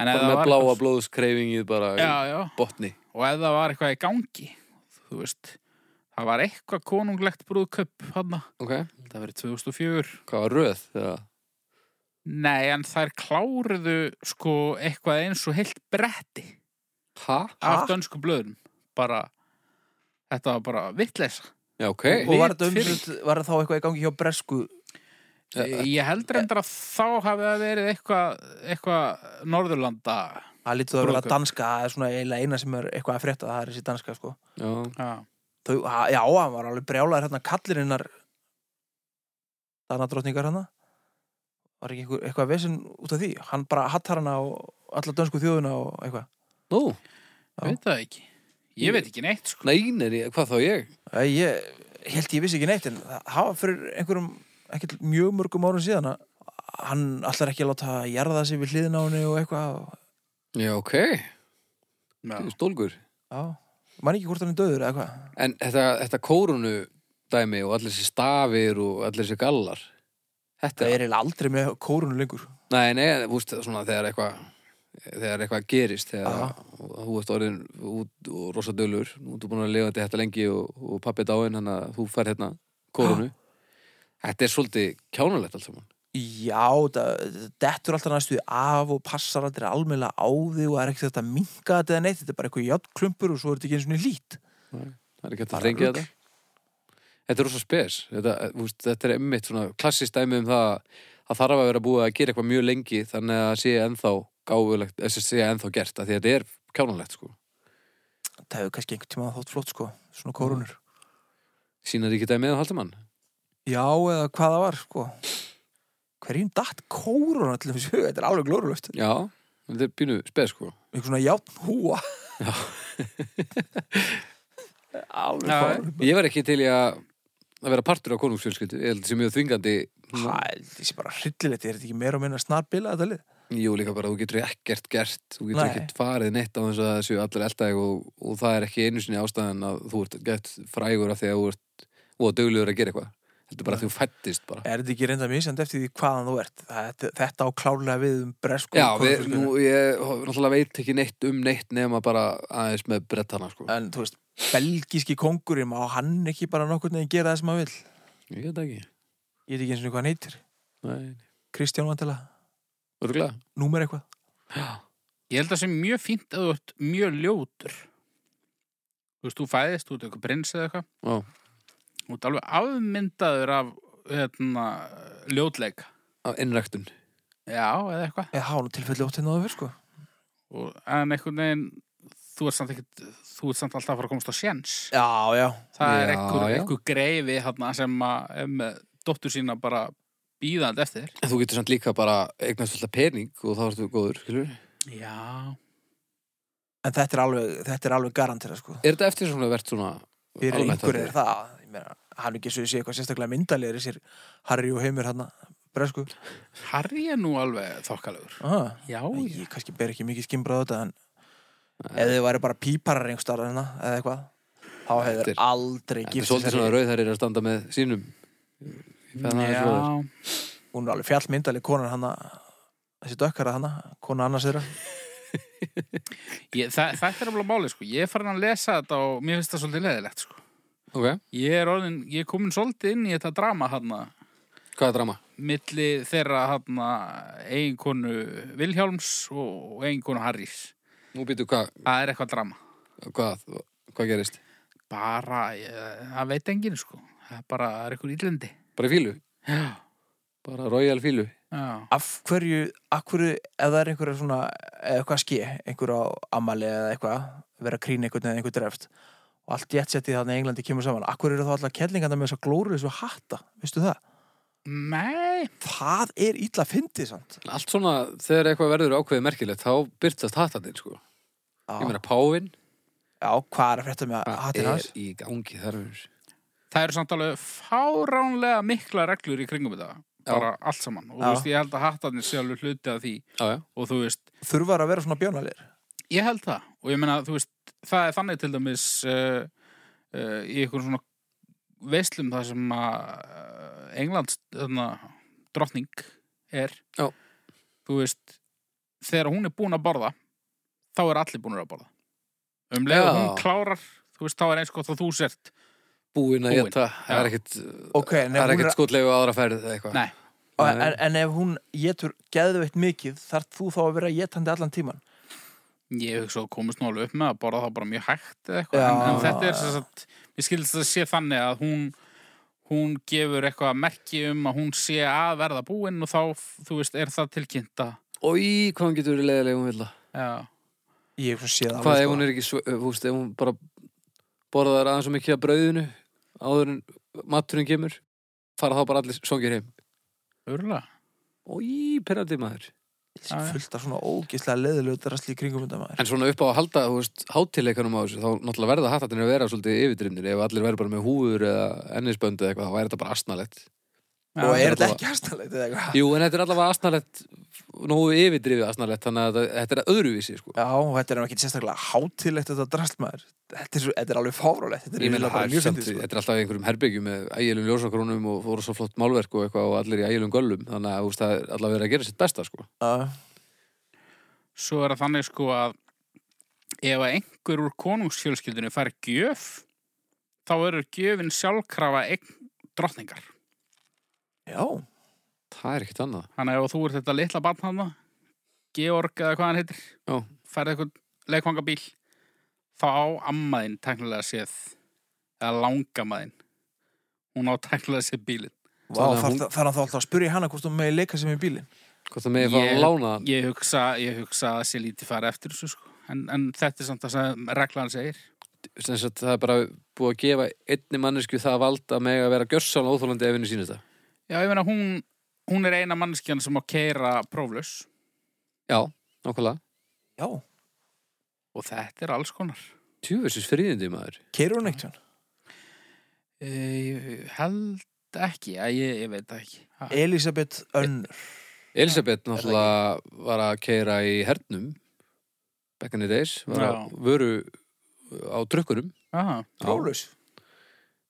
S3: En ef
S1: bara
S3: það
S1: með
S3: var
S1: bláa
S3: eitthvað-
S1: blóðskreifingið bara í
S3: Já, já,
S1: botni
S3: og ef það var eitthvað í gangi þú veist, það var eitthvað konunglegt brúðköp hann
S1: ok,
S3: það verið 2004
S1: hvað var röð þegar
S3: nei, en þær kláruðu sko eitthvað eins og heilt bretti
S1: ha?
S3: af
S2: Ha?
S3: dönsku blöðum bara, þetta var bara vitleisa
S1: já, ok,
S2: Og var
S3: Lit
S2: þetta umslut, var þá eitthvað í gangi hjá Bresku
S1: Já,
S3: ég heldur endur að þá hafi það verið eitthvað, eitthvað Norðurlanda
S2: Það lítið það að vera
S3: Brúðkaup.
S2: danska, það er svona eiginlega eina sem er eitthvað að frétta, það er þessi danska sko
S1: já,
S3: já,
S2: Þau, ha- Já, hann var alveg brjálaður hérna kallirinnar Danadrottningar hana Var ekki eitthvað, eitthvað vesinn út af því Hann bara hattar hana og alla dönsku þjóðuna og eitthvað
S1: nú,
S2: Já.
S3: veit það ekki ég veit ekki neitt sko
S1: nein er ég, hvað þá ég
S2: Æ, Ég ég held ég vissi ekki neitt en það það var fyrir einhverjum ekkert mjög mörgum árum síðan að hann allar ekki að láta jarða sig við hliðin á henni og eitthvað og,
S1: já, ok,
S3: já,
S1: stólgur
S2: já, man ekki hvort hann er döður eða hvað
S1: en þetta, þetta kórunu dæmi og allir þessi stafir og allir þessi gallar þetta
S2: það er eiginlega aldrei með kórunu lengur
S1: Nei, nei, þú veist, svona þegar eitthvað þegar eitthvað gerist þegar
S2: Aha.
S1: þú veist orðin út og rosa dölur nú ertu búin að lega þetta lengi og, og pappi dáin hann að þú fær hérna korunu Þetta er svolítið kjánulegt allt saman
S2: já, það dettur alltaf næstu því af og passar aldrei almennilega á því og það er ekkert hægt að minka þetta eða neitt þetta er bara eitthvað játtklumpur og svo er þetta ekki eins og niður lít
S1: Það er ekki hægt
S2: Bara
S1: að þrengja
S2: rugl.
S1: þetta Þetta er rosa spes þetta, þú veist, þetta er einmitt svona klassist dæmi um það að þarf að vera búið að gera eitthvað mjög lengi þannig að sé ennþá gáfulegt, þessi sé ennþá gert að því að þetta er kjánulegt sko
S2: það hefur kannski einhvern tíma þótt flott sko svona kórunur
S1: Sýnar ekki dæmið um að halda mann?
S2: já, eða hvað það var sko hverjum datt kóruna til þessu huga þetta er alveg glórulegt
S1: Já, þetta er pínu spes sko
S2: einhver svona játn húa
S1: Já.
S2: alveg
S3: Já,
S2: fáránlegt.
S1: Ég var ekki til í að að vera partur af konungsfjölskyldu, ég held sem mjög þvingandi
S2: Það er þessi bara hryllilegt, er þetta ekki meira og minna snarbila þetta lið?
S1: Jú, líka bara, þú getur ekkert gert þú getur
S2: Nei.
S1: ekkert farið neitt á þess að það séu allir eldæg og, og það er ekki einu sinni ástæðan að þú ert gett frægur af því að þú ert og döglegur að gera eitthvað Þetta er bara að þú fættist bara
S2: Er þetta ekki reynda misjandi eftir því hvaðan þú ert? Þetta, þetta á klárlega við um bresku
S1: Já, við,
S2: konungsfjölskyldu.
S1: nú, ég náttúrulega veit ekki neitt um neitt nema bara aðeins með brettana sko.
S2: En þú veist, belgíski kongurinn, má hann ekki bara nokkur neginn gera það sem hann vil?
S1: Ég get það ekki
S2: Ég veit ekki eins og hvað hann heitir.
S1: Nei,
S2: Kristján Vandela,
S1: örgulega
S2: númer eitthvað.
S3: Ég held að það sem mjög fínt að þú ert mjög ljótur. Þú veist, þú fæðist, þú ert eitthvað prins eða eitthvað.
S1: Já.
S3: Þú ert alveg afmyndaður af hérna, ljótleika.
S1: Af innræktun
S3: Já, eða eitthvað.
S2: Ég hafa nú tilfelli ótt hérna á fyrr, sko.
S3: Og, en einhvern veginn, þú ert samt, ekkit, þú ert samt alltaf að fara að komast á sjens.
S2: Já, já.
S3: Það er
S1: Já,
S3: einhver,
S1: já.
S3: einhver greifi hana, sem að, er með dóttur sína bara býðandi eftir.
S1: En þú getur samt líka bara eignast fulla pening og þá ertu góður, skilur
S3: Já.
S2: En þetta er alveg, þetta er alveg garantera, sko.
S1: Er þetta eftir svona verðt svona
S2: Fyrir
S1: Almennt
S2: einhverju
S1: aldrei.
S2: er það. Ég meina, hann er ekki svo sé eitthvað sérstaklega myndalegir í sér Harry og Heimir hann bresku.
S3: Harry er nú alveg þokkalegur.
S2: Ah.
S3: Já,
S2: Nei,
S3: já.
S2: ég kannski ber ekki mikið skimbrað á þetta en ef þið væri bara píparar einhverstaðar hérna eða eitthvað þá hefur
S1: Þetta er-
S2: aldrei
S1: Þetta er
S2: gift
S1: svolítið svona
S2: sér.
S1: rauð þær er að standa með sínum Ég fann það aðeins frá
S3: Já,
S2: Hún er alveg fjallmyndaleg konan hana þessi dökkara hana, kona annars þeirra
S3: ég, það, þetta er alveg málið sko. Ég er farin að lesa þetta og mér finnst það svolítið leðilegt sko.
S1: þér. Ok,
S3: Ég er orðin, ég er komin svolítið inn í þetta drama hana,
S1: hvað er drama?
S3: milli þeirra hana eiginkonu Vilhjálms og eiginkonu Harrys.
S1: Nú býtu, hvað,
S3: Það er eitthvað drama.
S1: hvað, hvað gerist?
S3: Bara, ég, það veit enginn sko. Það er bara, það er eitthvað íllendi.
S1: Bara í fílu?
S3: Já,
S1: Bara royal fílu?
S3: já.
S2: af hverju, af hverju ef það er einhverja svona, eða eitthvað ski einhver á amali eða eitthvað vera að krýna einhvern eða einhver dreft og allt jættsettið þarna í Englandi kemur saman af hverju eru þá alltaf kellingana með þess að glóru þessu hatta, veistu það?
S3: Nei,
S2: Það er illa fyndið samt
S1: Allt svona, þegar eitthvað verður ákveðið merkilegt, þá byrtast hattatinn, sko.
S2: Já,
S1: Ég meina, páfinn,
S2: já hvað er að frétta með
S1: hvað
S2: hattin
S1: er
S2: hans?
S1: í gangi þar við?
S3: það eru samt alveg fáránlega mikla reglur í kringum þetta. Bara allt saman. Og
S2: Já.
S3: þú veist, ég held að hattarnir sé alveg hluti af því.
S1: Já, já.
S3: Og þú veist,
S2: Þurfar að vera svona bjónalir?
S3: Ég held það og ég meina þú veist það er þannig til dæmis uh, uh, í einhverjum svona veislum það sem að uh, Englands þarna, drottning er
S1: Já.
S3: þú veist þegar hún er búin að borða þá er allir búin að borða um
S1: Já.
S3: leiða hún klárar þú veist þá er eins gott að þú sért
S1: Búinn að
S3: Búinn,
S1: geta, það er
S3: já.
S1: ekkit,
S2: Ok, en
S1: það
S2: ef
S1: er sko-
S2: hún
S1: ekkit
S2: er
S1: skotlegu aðra ferð eða eitthvað.
S3: Nei.
S2: Og En, en ef hún getur geðveitt mikið þarf þú þá að vera getandi allan tíman
S3: ég hugsa að komist nú alveg upp með að borða þá bara mjög hægt eða eitthvað
S2: Já.
S3: en, en þetta er sem sagt ég skilst að sé þannig að hún hún gefur eitthvað merki um að hún sé að verða búinn og þá þú veist er það tilkynnt að
S1: Í, hvað hún getur verið leiðileg ef hún vilja?
S3: Já,
S2: Ég hef svo séð alveg,
S1: Hvað ef
S2: sko.
S1: hún er ekki, svo- eh, þú veist, ef hún bara borðar aðeins og mikið af brauðinu áður en maturinn kemur, fara þá bara allir songir heim.
S3: örgulega.
S1: Í, perandi maður.
S3: Já, já.
S2: fullt af svona ógislega leðilöð drasli í kringum þetta maður
S1: En svona upp á að halda, þú veist, hátileikanum á þessu, þá náttúrulega verða hattatinni að vera svolítið yfirdrifnir. Ef allir verður bara með húfur eða ennisbönd eða eitthvað, þá væri þetta bara asnalett.
S2: og
S1: Já,
S2: er þetta
S1: allavega.
S2: ekki hæstanlegt eða eitthvað
S1: Jú, en þetta er allavega asnalett, nógu yfirdrifið asnalett, þannig að þetta- þetta er öðruvísi, sko.
S2: Já, og þetta er nú ekki sérstaklega hátilegt þetta drast maður þetta er, svo, þetta er alveg fárálegt þetta er
S1: Ég meina,
S2: eiginlega
S1: það
S2: bara
S1: er
S2: mjög
S1: samt,
S2: fyndið sko.
S1: þetta er alltaf í einhverjum herbyggjum með ægjölum ljósakrónum og voru svo flott málverk og eitthvað og allir í ægjölum göllum, þannig að þú veist, það er allavega verið að gera sitt besta, sko.
S2: Já,
S3: Svo er það þannig sko að ef að einhver úr konungsfjölskyldunni fær gjöf, þá eru gjöfin sjálfkrafa eign drottningar.
S2: Já,
S1: Það er ekkit annað.
S3: Þannig að ef þú ert þetta litla barn hann, Georg eða hvað hann heitir,
S1: Já.
S3: færði eitthvað leikvangabíl, þá á ammaðin teknilega séð, eða langamaðin, hún á teknilega séð bílinn.
S2: Vá,
S1: Þannig að
S2: þarf
S1: hún-
S2: hún... það er þá alltaf að spyrja hana hvort hún megi leika sem í bílinn
S1: Hvort það meði fara
S3: Ég-
S1: að lána hann?
S3: Ég hugsa, ég hugsa að það sé lítið fara eftir þessu sko. En, en þetta er samt það sem reglan segir.
S1: Sem sagt, það er bara búið að gefa einni mannesku það vald að mega vera gjössan óþólandi ef henni sýnist það.
S3: Já, ég meina, hún, hún er eina manneskjan sem á keira próflaus
S1: Já, nákvæmlega.
S2: Já,
S3: og þetta er alls konar.
S1: Tjúversus fríðindi maður.
S2: keirur hún eitt hún
S3: Eh, Ég held ekki, að ég, ég veit það ekki. Ha,
S2: Elisabeth Önnur
S1: Elisabeth náttúrulega var að keira í hernum back in the days, var að
S3: Já.
S1: vöru uh, á drukkurum.
S3: aha,
S2: Prólaus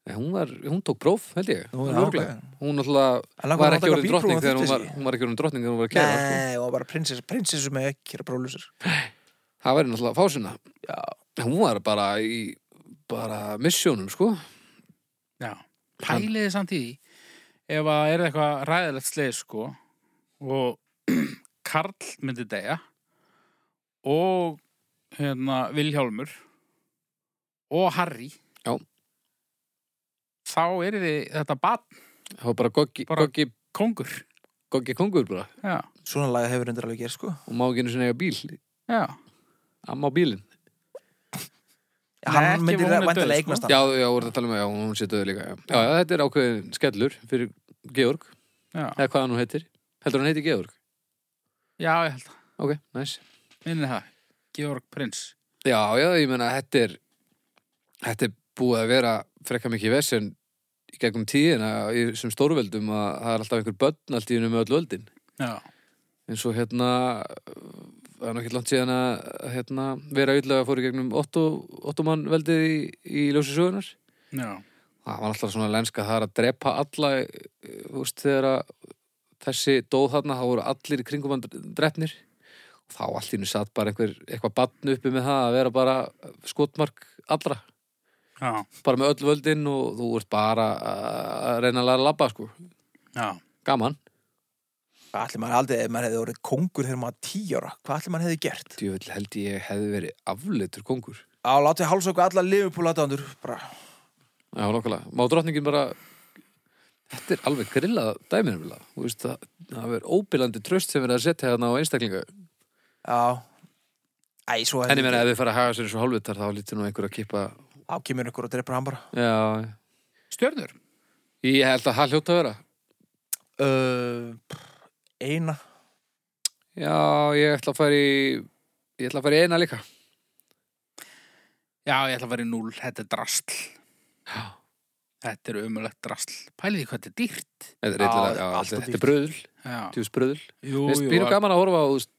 S1: Nei, Hún, var, hún tók próf, held ég.
S2: Nú,
S1: Alveg
S2: já,
S1: örugglega.
S2: ok.
S1: Hún náttúrulega
S2: En langar hún
S1: var
S2: að
S1: ekki
S2: taka
S1: orðin
S2: bílpróf
S1: drottning
S2: og
S1: þegar hún var,
S2: gifta sig?
S1: hún var ekki orðin drottning þegar hún var að keira. Sko.
S2: Nei, hún var bara prinsessu Prinsessu með ekki að prólausir
S1: Það væri náttúrulega fásina.
S2: Já.
S1: Hún var bara í bara missjónum, sko.
S3: já. Pæliði samt í því, ef að er eitthvað ræðilegt sleið, sko, og Karl myndi deyja og hérna, Vilhjálmur og Harry.
S1: Já.
S3: Þá er þetta batn
S1: Það var bara goggi,
S3: Bara-
S1: goggi,
S3: kongur.
S1: goggi kongur bara.
S3: Já,
S2: Svona laga hefur hendur alveg gerð sko
S1: og má ekki einu sinni eiga bíl
S3: já.
S1: amma á bílinn
S3: Nei,
S2: Hann
S3: ekki ef
S2: myndi
S3: hún er dauð,
S2: væntanlega
S3: sko.
S2: eignast hann
S1: já, já, voru að tala um að já, hún sé döðu líka já. já, já, þetta er ákveðin skellur fyrir Georg,
S3: Já,
S1: eða hvað hann nú heitir heldur hann heiti Georg?
S3: já ég held það.
S1: ok, næs
S3: Minni það. Georg Prins.
S1: já, já, ég meina, þetta er þetta er búið að vera frekka mikið vesen í gegnum tíðina í- sem stórveldum að það er alltaf einhver börn allt í hennu með öll völdin
S3: Já.
S1: eins og hérna það er nú ekki langt síðan að að, hérna, vera auðlega fóru gegnum Otto, Ottoman veldið í, í ljósi sögunar
S3: já,
S1: það var alltaf svona lenska það er að drepa alla eh, þú veist, þegar að þessi dóð þarna þá voru allir í kringum hann drefnir og þá allt í hennu satt bara einhver eitthvað bann uppi með það að vera bara skotmark allra
S3: já,
S1: bara með öll völdin og þú ert bara að reyna að læra að labba sko
S3: já
S1: gaman,
S2: Allir maður aldrei, ef maður hefði orðið kongur þegar maður var tíu ára, hvað allir maður hefði gert?
S1: djöfull held ég hefði verið afleitur kongur
S2: Á, látið hálsöku alla lifupúl aðdándur, bara,
S1: Já, nokkulega. Má drottningin bara Þetta er alveg grillað dæminum Þú veist, það, það er óbillandi tröst sem verið að setja þarna á einstaklinga
S2: já, æ, svo
S1: En ég meina, ef þið fara að haga sér eins og hálfvitar þá lítur nú einhver að kippa
S2: á, kemur ykkur og dreipur hann bara.
S1: Já,
S3: Stjörnur?
S1: ég held að það hljóta að vera
S2: Uh, pff, eina,
S1: Já, ég ætla að fara í Ég ætla að fara í eina líka
S3: Já, ég ætla að vera í núl, þetta er drasl
S1: Já.
S3: Þetta er umulegt drasl Pæliði hvað þetta er dýrt
S1: Þetta er
S2: Já,
S1: eitthvað, já,
S2: allt
S1: þetta
S2: of
S1: þetta er bröðul
S3: Já,
S1: Tjús bröðul
S3: jú,
S1: Mér finnst býr
S3: að-
S1: gaman að horfa á þú veist,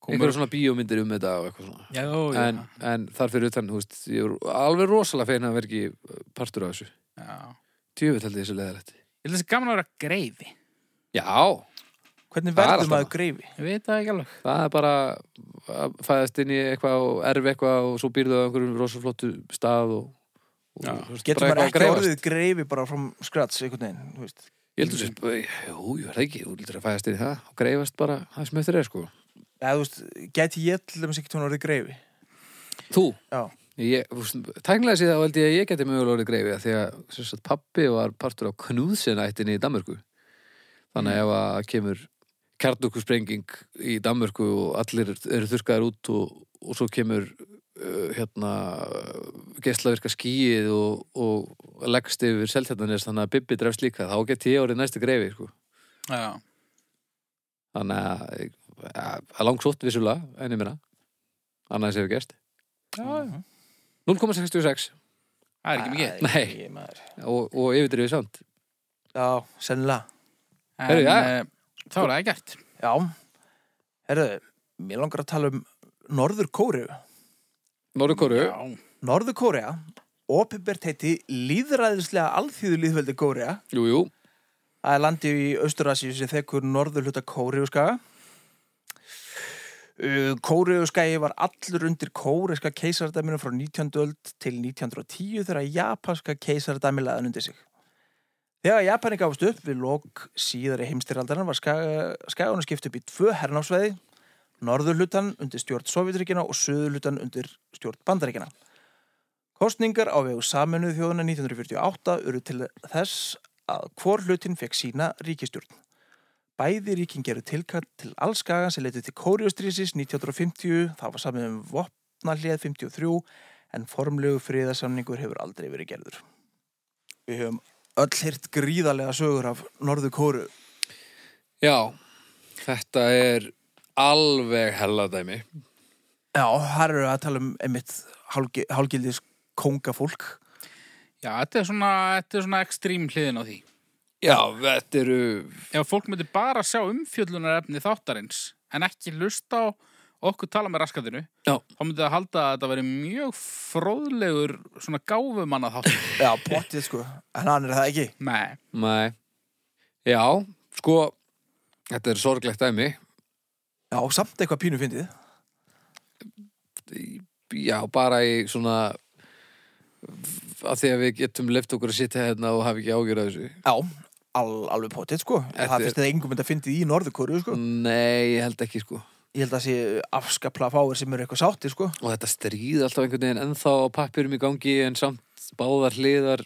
S3: komur-
S1: einhverja svona bíómyndir um þetta og eitthvað svona
S3: Já, jú,
S1: En, en þar fyrir utan, þú veist, ég er alveg rosalega feina að vera ekki partur af þessu
S3: já
S1: Tjöfull held ég þessu leðalegt
S3: Ég held þessi gaman að vera greifi
S1: Já,
S2: hvernig
S1: Það er
S2: verður
S1: alltaf
S2: maður
S1: það.
S2: greifi?
S3: Ég veit það ekki alveg
S1: það er bara að fæðast inn í eitthvað og erfi eitthvað og svo býrðu á einhverjum rosaflottu stað og, og
S3: Já.
S1: þú veist,
S2: Getur
S1: bara
S2: maður
S1: eitthvað að
S2: ekki
S1: greifast.
S2: orðið greifi bara frá skrats, einhvern veginn, þú veist.
S1: Ég heldur sér, jú, ég verð ekki, þú lítur að fæðast inn í það og greifast bara það sem eftir er sko
S2: Já, þú veist, geti ég til dæmis ekkert hún orðið greifi?
S1: Þú,
S2: Já,
S1: ég, þú veist, tæknilega síðan held ég að ég geti mögulega orðið greifið því að sem sagt, pappi var partur á knúðsinættinni í Danmörku
S3: Mm.
S1: þannig ef að kemur kjarnukusprenging í Danmörku og allir eru þurrkaðir út og, og svo kemur uh, hérna geislavirka skýið og, og leggst yfir seltjarnanes þannig að Bibbi drefst líka þá geti ég orðið næsti greifi sko.
S3: Já,
S1: þannig að, að, að langsótt vissulega en ég minna annars hefur gerst
S3: já, já
S1: 0,66
S3: Það er ekki mikið
S1: Nei.
S2: Æ, maður.
S1: og, og yfirdrifið samt
S2: Já, sennilega.
S1: Heyrðu,
S3: En
S1: já.
S3: eh, þá er það ekkert
S2: Já, herðu, mér langar að tala um Norður Kóriðu.
S1: Norðurkóru
S3: Já,
S2: Norður Kórea, opinbert heiti líðræðislega alþjóðulíðveldi Kórea.
S1: Jú, jú,
S2: Það er landið í Austurasíu sem þekkur norður hluta Kóriðuskaga. Kóriðuskagi Uh, var allur undir kóreska keisardæminu frá 19. öld til 1910 þegar japanska keisardæmi laðan undir sig. Þegar Japani gafst upp við lok síðari heimstyraldarinn var skagunum skipt upp í tvö hernámsveði, norðurlutan undir stjórn Sovjetríkina og söðurlutan undir stjórn Bandaríkina. Kostningar á vegu saminuð þjóðuna 1948 eru til þess að hvor hlutin fekk sína ríkistjórn. Bæði ríkin gerðu tilkall til allskagan sem leitið til Kóriustrísis 1950, það var samið um vopnahlið 53, en formlegu friðarsamningur hefur aldrei verið gerður. Við höfum öll hirt gríðarlega sögur af Norðu Kóru.
S1: já Þetta er alveg helladæmi
S2: Já, þar eru að tala um einmitt hálgi- hálgildis kóngafólk.
S3: já þetta er svona, þetta er svona ekstrím hliðin á því
S1: Já, þetta eru
S3: Ef fólk myndi bara sjá umfjöllunarefni þáttarins en ekki lusta á okkur tala með raskatinu
S1: Já.
S3: þá myndi það halda að þetta veri mjög fróðlegur svona gáfumanna þáttur
S2: Já, pottið sko, en hann er það ekki.
S3: Nei,
S1: Nei Já, sko Þetta er sorglegt dæmi
S2: Já, samt eitthvað pínu fyndið.
S1: Já, bara í svona að því að við getum leift okkur að sitja hérna og hafa ekki ágjur að þessu
S2: Já, al, alveg pottið sko.
S1: Þetta
S2: Það
S1: er-
S2: finnst þetta engum þetta fyndið í Norðu Kóru sko.
S1: Nei, ég held ekki sko
S2: ég held að sé afskapla fáir sem eru eitthvað sáttir sko
S1: og þetta stríð alltaf einhvern veginn ennþá á pappirum í gangi en samt báðar hliðar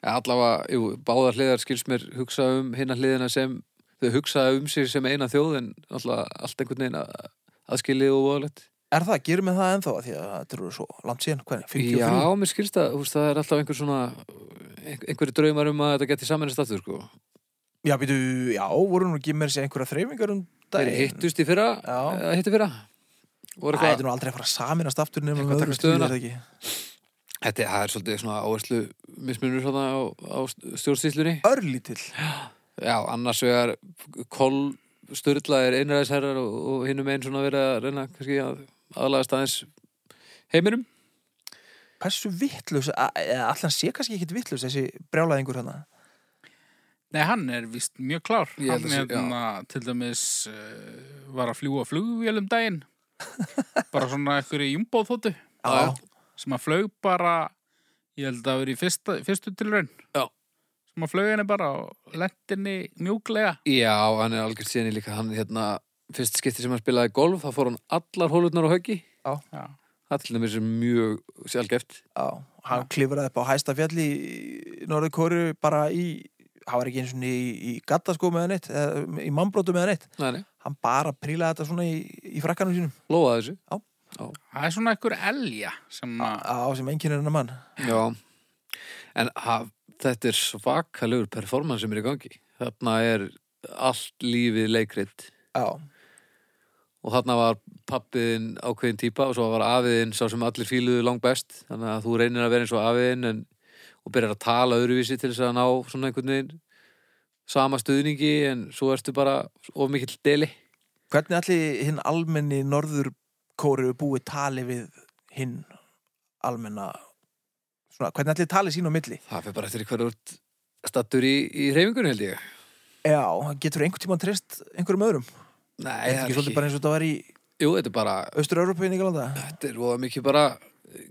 S1: eða allavega, jú, báðar hliðar skilst mér hugsa um hinna hliðina sem þau hugsa um sig sem eina þjóð en allavega allt einhvern veginn að- aðskilið og voðalegt
S2: er það, gerum við það ennþá af því að þetta eru svo langt síðan, hvernig, 53
S1: Já, mér skilst að húst, það er alltaf einhver svona ein- einhverju draumar um að þetta geti samennist aftur sko.
S2: já, býtu, já, voru nú ekki mér sér einhverja þreifingar um
S1: Þeir
S2: daginn
S1: hittust í fyrra
S2: Já.
S1: eða hittu í fyrra og
S2: Æ,
S1: er
S2: þetta
S1: eitthvað
S2: er nú aldrei að fara að saminast aftur nema
S1: Eitthvað
S2: með
S1: taka
S2: öðru stríði,
S1: stöðuna.
S2: er það ekki?
S1: Þetta er- það er svolítið svona áherslu mismunur svona á, á stjórnstýslunni
S2: örlítill
S1: Já, annars vegar kol styrlaðir einræðisherrar og, og hinnum einn svona verið að reyna kannski að aðlagast aðeins heiminum
S2: Hversu e, vittlaus, allan sé kannski ekkit vittlaus þessi brjálæðingur hana
S3: Nei, hann er vist mjög klár.
S1: Ég held að
S3: Hann
S1: sé-
S3: hérna, til dæmis uh, var að fljúa flugvél um daginn. bara svona ekkur í jumbóþóttu
S1: Já, já.
S3: sem að flög bara, ég held að vera í fyrsta, fyrstu tilraun.
S1: Já.
S3: Sem að flög henni bara og lentinni mjúklega.
S1: Já, hann er algjörð síðan líka hann hérna, fyrst skipti sem hann spilaði golf þá fór hann allar hólurnar á höggi
S3: Já.
S1: það til dæmis er mjög sjálfgeft
S2: Já, hann klifraði upp á hæsta fjalli í Norður Kóru bara í hann var ekki eins og í, í gatta sko meðan eitt í mannbrótu meðan eitt
S1: Nei, nei,
S2: hann bara prílaði þetta svona í, í frakkanum sínum
S1: lofaði þessu
S3: Það er svona ekkur elja sem að...
S2: á sem einkennir hennar mann
S1: Já, en ha, þetta er svakalegur performance sem er í gangi. Þarna er allt lífið leikrit
S2: Já,
S1: og þarna var pappiðin ákveðin típa og svo var afiðin sá sem allir fíluðu langbest þannig að þú reynir að vera eins og afiðin en, og byrjar að tala öðruvísi til þess að ná svona einhvern veginn sama stuðningi en svo ertu bara of mikill deli.
S2: hvernig allir hinn almenni Norður Kóru búið tali við hinn almenna svona, hvernig allir tali sín á milli
S1: Það fyrir bara eftir hverju út stattur í, í reyfingunni held ég.
S2: Já, hann getur einhvern tímann treyst einhverjum öðrum
S1: Nei,
S2: Þetta er ekki svolítið bara eins og þetta var í
S1: Jú, þetta er bara
S2: Östur-Európa í Nigalanda
S1: Þetta er voða mikið bara eh,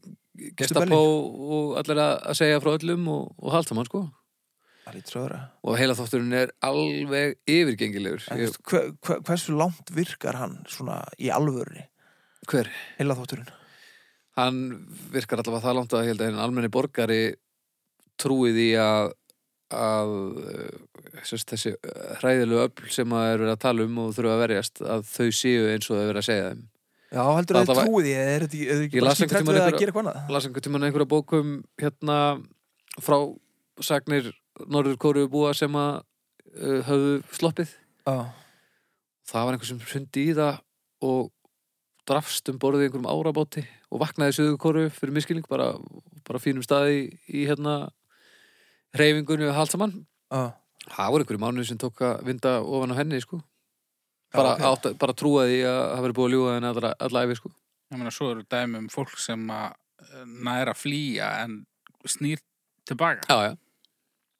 S1: gestapó og allir að að segja frá öllum og, og halda mann sko
S2: Það lítur svo að vera
S1: og heila þátturinn er alveg yfirgengilegur
S2: En,
S1: Ég,
S2: veist, hver, hver, hversu langt virkar hann svona í alvörni,
S1: hver?
S2: heila þótturinn?
S1: Hann virkar allavega það langt að ég held að hinn almenni borgari trúið í að að eh, sérst, þessi hræðilegu öfl sem að er verið að tala um og þurfa að verjast að þau séu eins og þau verið að segja þeim
S2: Já, heldur að
S1: Þetta
S2: þið
S1: var-
S2: trúið því, eða er þetta ekki, er þetta
S1: Ég
S2: ekki bara
S1: las einhvern
S2: skítrætt
S1: tímann
S2: við að
S1: einhverja-
S2: gera eitthvað annað?
S1: las einhvern tímann einhverja bókum hérna frá sagnir Norður Kóru búa sem að uh, höfðu sloppið
S2: Já,
S1: það var einhver sem sundi í það og drafst um borðið í einhverjum árabáti og vaknaði söðukoru fyrir miskilning bara, bara fínum staði í hérna reyfingunni og halsamann
S2: já,
S1: það voru einhverju mánuði sem tók að vinda ofan á henni sko. bara,
S2: ok.
S1: okay. átt, bara trúa því að það verið búið að ljúga henni allra, allra æfi sko.
S3: Ég meina, svo eru dæmi um fólk sem að eh, nær að flýja en snýr tilbaka.
S1: já, já,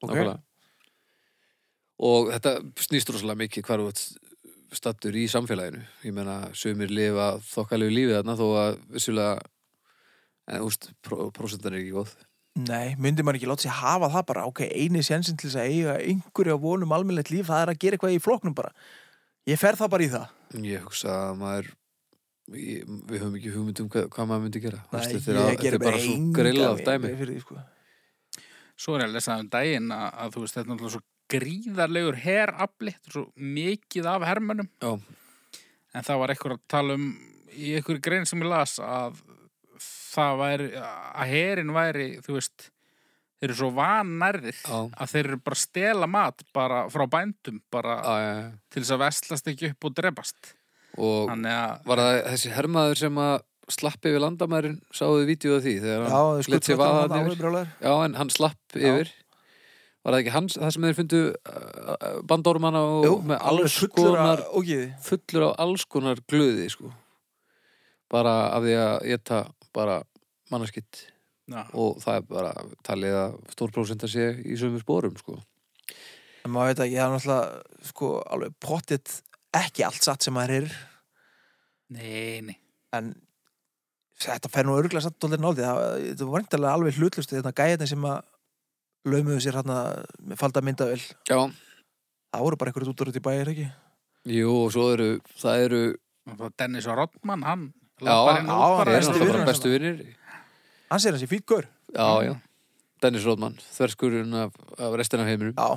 S2: ok.
S1: nákvæmlega og þetta snýst rosalega mikið hvar þú ert stattur í samfélaginu ég meina sumir lifa þokkalegu lífið þarna þó að vissulega en úst, prósentan er ekki góð
S2: Nei, myndi maður ekki láta sér hafa það bara, ok, eini sjansinn til þess að eiga einhverju að vonum almennlegt líf, það er að gera eitthvað í floknum bara. Ég fer það bara í það.
S1: Ég hugsa að maður ég, við höfum ekki hugmynd um hvað, hvað maður myndi gera Þú veist, þetta er
S2: ég
S1: að- þetta er bara svo
S2: enga
S1: grillað
S2: veginn
S1: dæmi
S2: Fyrir, því, sko.
S3: Svo er ég að lesa um daginn að, að þú veist, þetta er náttúrulega svo gríðarlegur herafli, þetta er svo mikið af hermönum.
S1: Já.
S3: En það var ekkur að tala um í ekkur grein sem ég las að það væri, að herin væri, þú veist, þeir eru svo vannærðir
S1: Já.
S3: að þeir eru bara að stela mat bara frá bændum, bara
S1: Já, já, já.
S3: til þess að veslast ekki upp og drepast.
S1: Og
S3: Þannig að,
S1: var það þessi hermaður sem að slappi yfir landamærin sáðu þið vídeo af því þegar
S2: Já,
S1: hann
S2: þau
S1: lét sér
S2: skuldfættu
S1: vaða
S2: hann
S1: þarna
S2: alveg
S1: yfir
S2: brjólaður.
S1: Já, en hann slapp yfir Var það ekki hans, það sem þeir fundu uh, bandormana og
S2: Jú,
S1: með
S2: alveg
S1: alls
S2: fullur
S1: konar
S2: að ógiði.
S1: fullur á alls konar glöði sko. bara af því að ég ta bara mannarskitt
S3: já,
S1: og það er bara talið að stórprósenta sé í sömu spórum sko.
S2: En maður veit ekki, það er náttúrulega sko, alveg pottitt ekki allt satt sem maður er
S3: nei, nei.
S2: en þetta fer nú örgulega samt dólir náði þetta var reyndalega alveg hlutlust þetta gæðin sem að laumuðu sér hérna með falda myndavel
S1: Já,
S2: það voru bara einhverjum út úr út í bæir ekki
S1: jú og svo eru það eru,
S3: Og það Dennis Rodman, hann
S1: já,
S3: labbar
S1: já,
S3: inn og út
S1: það
S3: bara
S1: eru
S3: eins og
S1: náttúrulega bara
S2: vinir
S1: bestu vinnir
S2: hann sér hans í fítgur
S1: Já, já, Dennis Rodman þverskurinn af, af restina af heiminum
S2: já,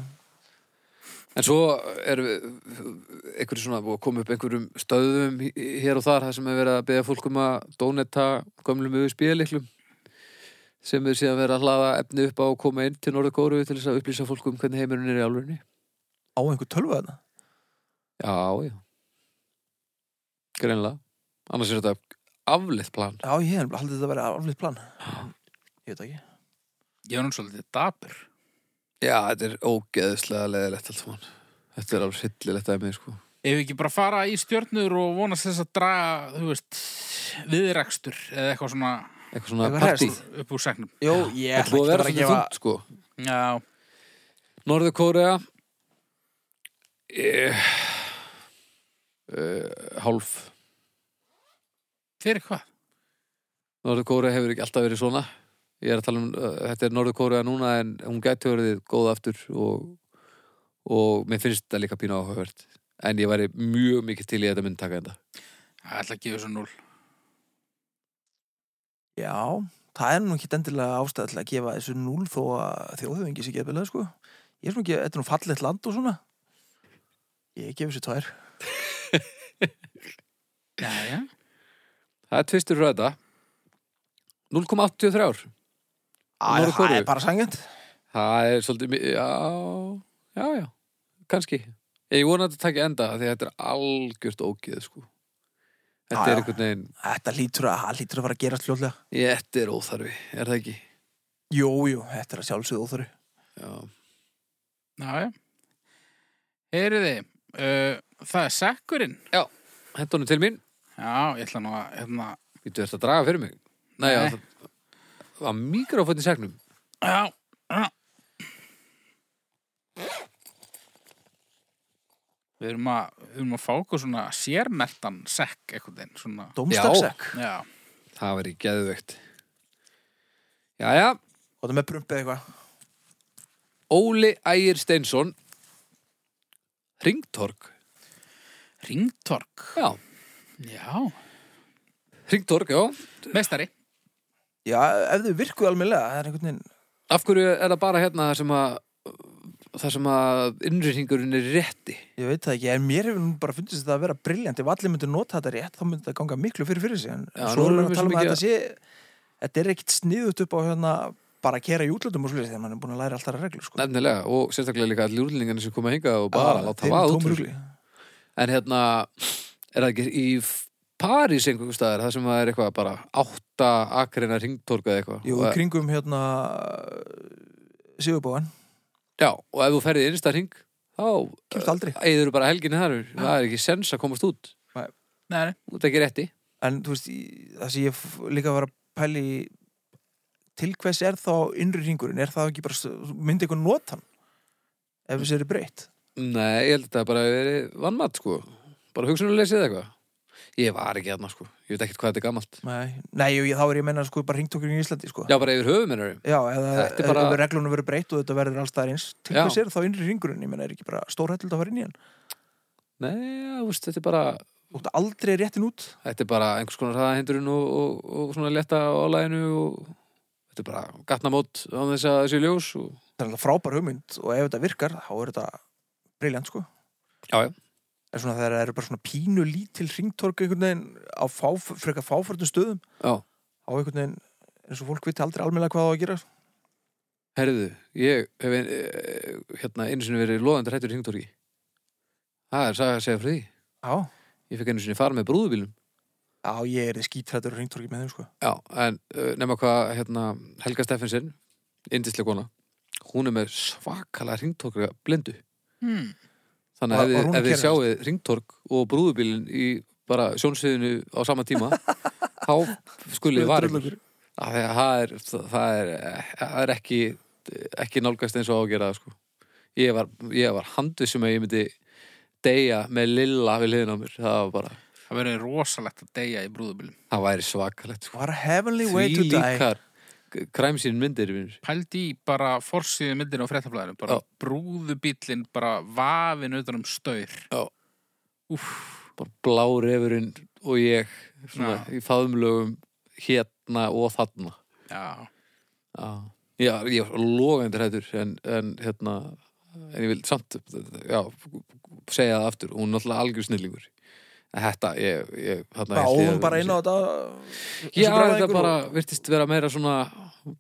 S1: En svo er einhverju svona búið að koma upp einhverjum stöðum hí- hér og þar það sem er verið að beða fólk um að dónetta gömlum USB-liklum sem er síðan verið að hlaða efni upp á að koma inn til Norður Kóru til þess að upplýsa fólk um hvernig heimurinn er í álfunni.
S2: á einhver tölvu þarna
S1: Já, já. Greinlega. Annars er þetta afleitt plan.
S2: já, ég hef haldið þetta að vera alveg plan En ég veit ekki
S3: Ég var nú svolítið dapur.
S1: Já, þetta er ógeðslega leðilegt allt saman. Þetta er alveg hryllilegt að mig, sko.
S3: ef við ekki bara fara í stjörnur og vonast þess að draga, þú veist, viðrakstur eða eitthvað svona
S1: Eitthvað svona
S2: Eitthvað
S1: partí.
S2: hresst.
S3: upp úr segnum.
S2: Jó,
S1: Það
S2: ég
S1: er
S2: ætla
S1: búið
S2: ekki
S1: að vera
S2: að fara að
S1: svolítið
S2: gefa
S1: þungt, sko.
S3: Já,
S1: Norður Kórea eh, eh, Hálf.
S3: fyrir hvað?
S1: Norður Kórea hefur ekki alltaf verið svona. Ég er að tala um, eh, þetta er Norður Kórea núna en hún gæti verið góð aftur og, og mér finnst þetta líka pínu áhugavert. En ég væri mjög mikið til í að þetta mynd taka þetta.
S3: Það ætla að gefa svo núl.
S2: Já, það er nú ekki endilega ástæð til að gefa þessu núl þó að þjóðhöfingi sé gefilega sko. Ég er svona ekki, þetta er nú fallegt land og svona Ég gefi þessu tvær
S3: Já, já.
S1: Það er tvistur röða. 0,83 ár.
S2: Æ,
S1: Norður
S2: Það
S1: Kóreu.
S2: er bara sangjant
S1: Það er svolítið, mi- já, já, já, kannski. Ég vona að þetta takja enda af því að þetta er algjört ógeð, sko. Þetta
S2: Já,
S1: er
S2: já.
S1: einhvern veginn,
S2: Þetta lítur að, það lítur að fara að gerast fljóðlega
S1: þetta er óþarfi, er það ekki?
S2: Jú, jú, þetta er að sjálfsögðu óþöru
S1: Já,
S3: Já, já. Heyriði, uh, það er sekkurinn.
S1: hent honum til mín,
S3: Já, ég ætla nú að, hérna,
S1: við duðast að draga fyrir mig. Nei, já,
S3: Nei.
S1: það það var mikrofónn í segnum.
S3: já, já. Við erum að, við erum að fá okkur svona sérmertan sekk eitthvað einn, svona,
S2: Dómstagsek
S3: já.
S1: Það var í geðvögt. Já, já,
S2: Og það með prumpið eitthvað
S1: Óli Ægir Steinsson, Ringtorg,
S3: Ringtork,
S1: já,
S3: já.
S1: Ringtorg, já.
S3: Meistari,
S2: Já, ef þau virkuðu almennilega, það er einhvern veginn
S1: Af hverju er það bara hérna þar sem að þar sem að innrýtingurinn er rétti?
S2: Ég veit það ekki, en mér hefur nú bara fundist þetta að vera briljant ef allir myndir nota þetta rétt, þá myndir þetta ganga miklu fyrir fyrir sig en
S1: Já,
S2: svo
S1: nú erum við
S2: erum við að tala um
S1: svo
S2: að
S1: mikið
S2: þetta sé þetta er ekkit sniðut upp á hérna bara að kera í útlöndum og svolítið þegar mann er búin að læra alltaf að reglur sko.
S1: Nefnilega, og sérstaklega líka allir úrlingarnir sem koma hinga og bara
S2: Að
S1: láta
S2: Ah, þeim
S1: vaða út
S2: tómu
S1: úr.
S2: rugli.
S1: En hérna, er það ekki í F- París einhverjum staðar, það sem að er eitthvað bara átta akreina ringtorka eða eitthvað.
S2: Jú,
S1: Og-
S2: í kringum hérna Sigurbóan,
S1: Já, og ef þú ferðið innsta ring, þá
S2: kemst aldrei
S1: eigður bara helginni þar, það er ekki sens að komast út.
S3: neðri,
S1: Þú tekir rétti.
S2: en þú veist, í- það sem ég f- líka var að pæli til hvers er þá innri ringurinn, er það ekki bara s- myndi eitthvað notan ef þessi eru breytt
S1: Nei, ég held að þetta bara verið vannmatt, sko. Bara hugsunuleysið eða eitthvað. Ég var ekki hérna, sko. Ég veit ekkert hvað þetta er gamalt.
S2: Nei, Nei og ég, þá er ég að menna sko bara ringtokurinn í Íslandi sko.
S1: Já, bara yfir höfum hennar.
S2: Já, eða
S1: Þetta er
S2: bara...
S1: bara-
S2: reglunum verður breytt og þetta verður alls staðar eins til
S1: Já.
S2: hvers er þá innri ringurinn, ég menna er ekki bara stórhættild að fara inn í hann,
S1: Nei, þú veist, þetta er bara,
S2: þú ert aldrei réttin út
S1: þetta er bara einhvers konar hraðahindurinn og, og, og svona letta álæginu og þetta er bara gatnamót á þess að þessi ljós og
S2: það er alltaf frábær hugmynd og ef þetta virkar þá er þetta briljant sko
S1: Já, já.
S2: en svona þegar það eru bara svona pínu lítil ringtork einhvern veginn á fá, frekar fáförnum stöðum
S1: já,
S2: á einhvern veginn eins og fólk viti aldrei almennilega hvað það á að gera
S1: herðu, ég hef ein, eh, hérna einu sinni verið loðandi hrættur í hringtorki. Það er saga að segja frá því.
S2: Já,
S1: Ég fekk einu sinni fara með brúðubílum.
S2: já ég er skítrættur á ringtorki með þeim sko
S1: Já, en uh, nema hvað, hérna, Helga Steffensen, indislega kona, hún er með svakalega hringtorka blindu.
S3: hmm.
S1: Þannig
S2: Var-
S1: að ef
S2: var hún
S1: þið-
S2: að
S1: ef þið
S2: keyra
S1: sjáuð ringtork og brúðubílinn í bara sjónsviðinu á sama tíma þá skulið var ykkur.
S2: Drullungur.
S1: Af því að Það er, það er, það er ekki, ekki nálgast eins og á að gera það, sko. Ég var, ég var handvissum að ég myndi deyja með lilla við liðin á mér. Það var bara,
S3: það verður rosalegt að deyja í brúðubilum.
S1: það væri svakalegt, sko.
S2: What a heavenly way to die
S1: líkar kræmsýn myndir, minnur.
S3: Pældi í bara forsýðu myndin á fréttablaðinu, bara
S1: Já.
S3: brúðubíllinn bara vafin utan um staur.
S1: Já.
S3: Úff,
S1: Bara blá refurinn og ég, svona,
S3: Já.
S1: í faðumlögum hérna og þarna.
S3: já.
S1: Já, já ég var logandi hættur en, en hérna en ég vil samt já, segja það aftur, hún er náttúrulega algjör snillingur en þetta, ég, ég hérna,
S2: Bá
S1: hélt ég
S2: hún
S1: að-
S2: bara inn á þetta
S1: Já,
S2: þessu
S1: þetta
S2: brjálæðingur
S1: bara
S2: og-
S1: virtist vera meira svona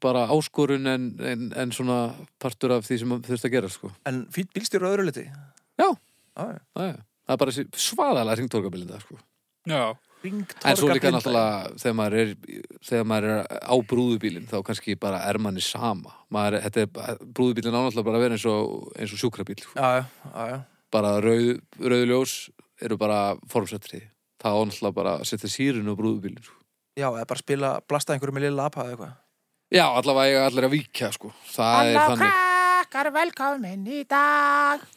S1: bara áskorun en, en, en svona partur af því sem þurft að gera sko.
S2: En fýtt bílstjóri á öðru liti
S1: Já.
S2: já.
S1: það er, það er bara þessi svaðalega hringtorkabilinda sko.
S3: Já.
S2: Hringtorka
S1: en svo líka
S2: blinda.
S1: náttúrulega þegar maður er, þegar maður er á brúðubílinn þá kannski bara er manni sama maður, þetta er, brúðubílinn á náttúrulega bara að vera eins og, eins og sjúkrabíl sko.
S2: Já, já, já, já
S1: bara rauð, rauð ljós eru bara formsettri það er náttúrulega bara að setja sírun og brúðubílin sko.
S2: Já, eða bara spila, blasta einhverju með lilla apa eða eitthvað.
S1: já, allavega eiga allir að víkja sko. það er þannig
S3: krakkar velkomin í dag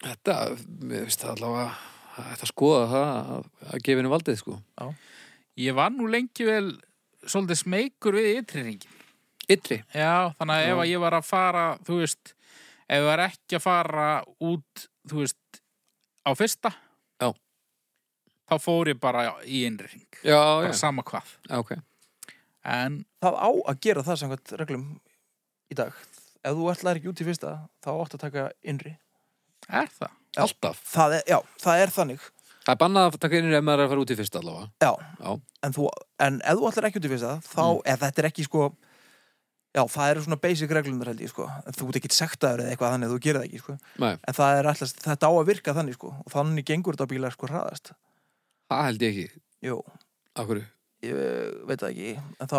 S1: Þetta, mér finnst það allavega Þetta skoða það að, að gefa henni valdið sko
S3: Ég var nú lengi vel svolítið smeykur við ytriringin
S1: Ytri
S3: Já, þannig að
S1: Já.
S3: ef að ég var að fara þú veist, ef ég var ekki að fara út, þú veist á fyrsta
S1: Já.
S3: þá fór ég bara í innring
S1: Já,
S3: bara
S1: já,
S3: sama hvað
S1: já, ok
S3: en
S2: Það á að gera það samkvæmt reglum í dag. Ef þú ætlaðir ekki út í fyrsta, þá áttu að taka innri.
S3: er það?
S2: Já.
S1: Alltaf
S2: Það er, já, það er þannig.
S1: Það er bannað að taka inn í ef maður er að fara út í fyrst allavega
S2: Já.
S1: Já.
S2: En, þú, en ef þú ætlar ekki út í fyrsta, þá,
S1: Mm.
S2: eða þetta er ekki sko, já, það eru svona basic reglunar held ég, sko. En Þú ert ekki sektaður eða eitthvað þannig, að þú gerir það ekki, sko.
S1: Nei,
S2: En það er alltaf, þetta á að virka þannig, sko. Og þannig gengur þetta bílar, sko, hraðast.
S1: það held ég ekki
S2: Jú,
S1: Af hverju
S2: ég eh, veit það ekki. En þá,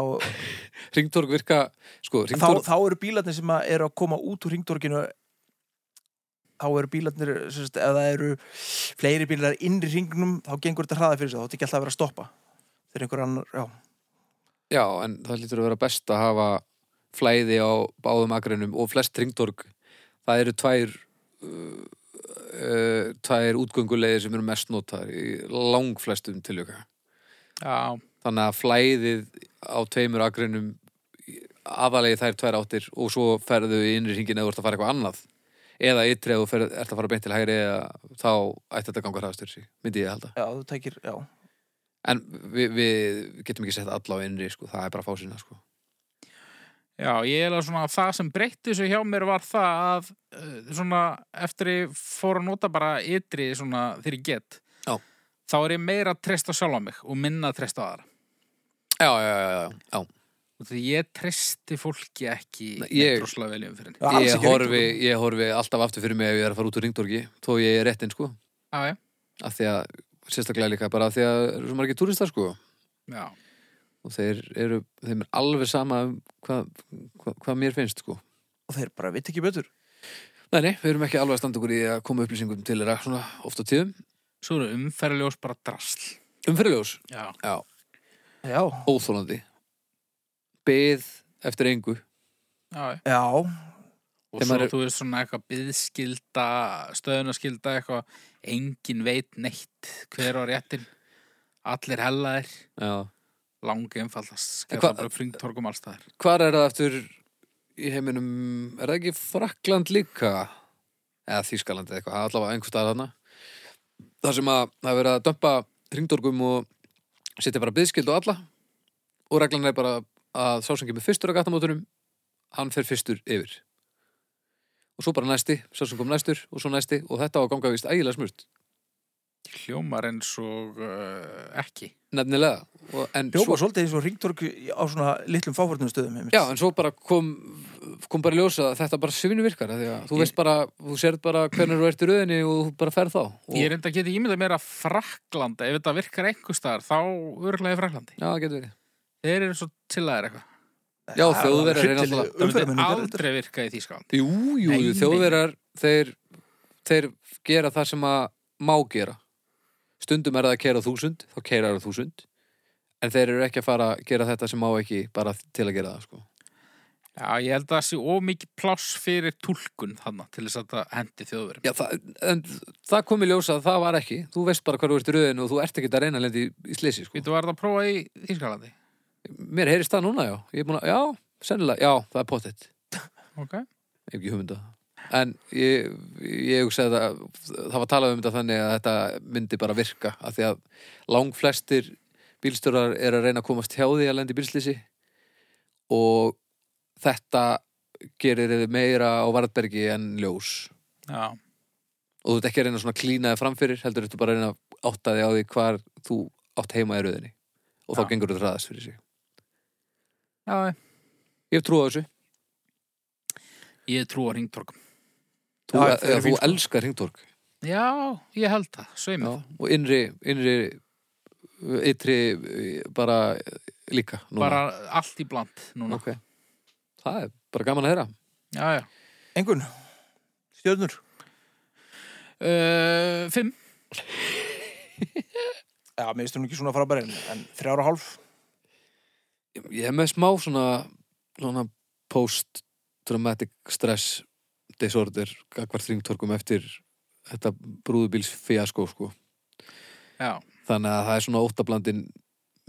S1: Ringtorg virka, sko,
S2: þá,
S1: ringtorg
S2: þá eru bílarnir sem að eru að koma út úr ringdorginu þá eru bílarnir sem sagt, ef það eru fleiri bílar inn í ringnum þá gengur þetta hraða fyrir sig þá þetta ekki alltaf að vera að stoppa þegar einhver annar, já,
S1: Já, en það lítur að vera best að hafa flæði á báðum akrinum og flest ringtorg það eru tvær uh, uh, tvær útgöngulegir sem eru mest notaðar í langflestum tiljöka
S3: Já,
S1: þannig að flæðið á tveimur akrinum aðalegi þær tvær áttir og svo ferðu í innri hringin eða þú ert að fara eitthvað annað eða ytri eða þú ferð, ert að fara beint til hægri eða þá ætti þetta að ganga hraðastur sí, myndi ég halda
S2: já, þú tekir, já
S1: en við, við getum ekki sett alla á innri sko, það er bara að fá sína sko.
S3: já, ég er að svona það sem breytti þessu hjá mér var það að eh, svona eftir ég fór að nota bara ytri svona þegar ég get
S1: Já.
S3: þá er ég meira að treysta á sjálfa mig og minna að treysta á aðra
S1: já, já, já, já, já.
S3: Og því ég treysti fólki ekki
S1: Nei, ég-
S3: ég... droslega veljum fyrir henni.
S2: Já, alls
S1: Ég,
S2: ekki
S1: horfi, ég horfi alltaf aftur fyrir mig ef ég er að fara út úr ringdorgi þó ég er réttinn sko,
S3: Já, já.
S1: af því að sérstaklega líka bara af því að það eru svo margir túristar sko
S3: Já.
S1: og þeir eru, þeim er alveg sama um hvað hva, hva mér finnst sko
S2: og þeir bara veit ekki betur
S1: Nei, nei, við erum ekki alveg að standa okkur í að koma upplýsingum til þeirra svona oft á tíðum.
S3: Svo eru umferðaljós bara drasl.
S1: Umferðljós,
S3: Já.
S1: já,
S2: já,
S1: óþólandi. Beð eftir engu.
S3: Já, já.
S2: já,
S3: Og
S1: Þeim
S3: svo
S1: eru-
S3: þú veist svona eitthvað byðskilda, stöðunaskilda, eitthvað, engin veit neitt hver á réttin, allir hellaðir,
S1: Já.
S3: lang einfaldast,
S1: En
S3: skæða
S1: hvað-
S3: bara fringtorgum allstaðar.
S1: Hvar er það eftir í heiminum, er það ekki Frakland líka? Eða Þýskaland eða eitthvað, það er allavega einhvers staðar þarna. Það sem að það er verið að dömpa hringdorgum og setja bara byðskild og alla og reglan er bara að sá sem kemur fyrstur á gattamótunum, hann fer fyrstur yfir. Og svo bara næsti, sá sem kom næstur og svo næsti og þetta á að ganga vist ægilega smurt.
S3: Hljómar eins og uh, ekki.
S1: Nefnilega. Og, en,
S2: hljópa
S1: svo,
S2: svolítið eins og ringtorg á svona litlum fáfórnum stöðum einmitt.
S1: já, en svo bara kom, kom bara í ljós að þetta bara svinu virkar. af því að Þú
S3: Ég-
S1: veist bara, þú sérð bara hvernig þú ert í röðinni og þú bara ferð þá. Og,
S3: Ég er enda að geta ímyndað mér að Fraklanda, ef þetta virkar einhver staðar, þá örglega í Fraklandi.
S1: Já, það getur verið.
S3: Þeir eru svo tillaðir eitthvað.
S1: Já, Þjóðverjar er náttúrulega-
S3: Það myndi
S2: umferðarmenningar þetta.
S3: aldrei virka í Þýskaland.
S1: Jú, jú,
S3: Nei,
S1: jú,
S3: nei.
S1: þjóðverjar, þeir, þeir gera það sem að má gera. Stundum er það að kera þúsund, þá keirar það þúsund. En þeir eru ekki að fara að gera þetta sem má ekki bara til að gera það, sko.
S3: Já, ég held að það sé ómikið pláss fyrir tólkun þannig til þess að það hendi þjóðverjum.
S1: Já, það, en það kom í ljós að það var ekki. Þú veist bara hvað þú ert í röðinu og þú ert ekki að reyna að lendi í, í slisi, sko.
S3: Við þú varð að prófa í Þýskalandi.
S1: Mér heyrist það núna, já. Ég er búin að, já, sennilega, já, það er pottet.
S3: Ok.
S1: Ef ekki hugmynda. En ég, ég hugsaði að það var talað um þetta þannig að þetta myndi bara virka. Af því að langflestir bílstjórar er að reyna að komast hjá því að lendi bílslýsi og þetta gerir þið meira á varðbergi en ljós.
S3: Já,
S1: Og þú ert ekki að reyna svona að klína þið framfyrir, heldur þetta bara að reyna að átta þig á því hvar þú átt heima í rauðinni. Og þá
S3: Já.
S1: gengur þetta ræðast fyrir sig.
S3: já,
S1: Ég hef trú á þessu.
S3: ég trú á ringtorkum.
S1: Þú,
S2: Já,
S1: já,
S2: þau eru
S1: þú
S2: fín, sko.
S1: elskar hringtorg.
S3: Já, ég held það, sveimið.
S1: og innri, innri ytri eh, bara eh, líka núna.
S3: Bara allt í bland núna.
S1: Ok. það er bara gaman að heyra
S3: Já, já.
S2: Engun, stjörnur
S3: Uh, fimm.
S2: Já, mér finnst hún ekki svona frábær en, en þrjára hálf
S1: Ég hef með smá svona, svona post-traumatic stress disorder gagvart þringtorkum eftir þetta brúðubíls fiasko sko.
S3: Já,
S1: Þannig að það er svona óttablandin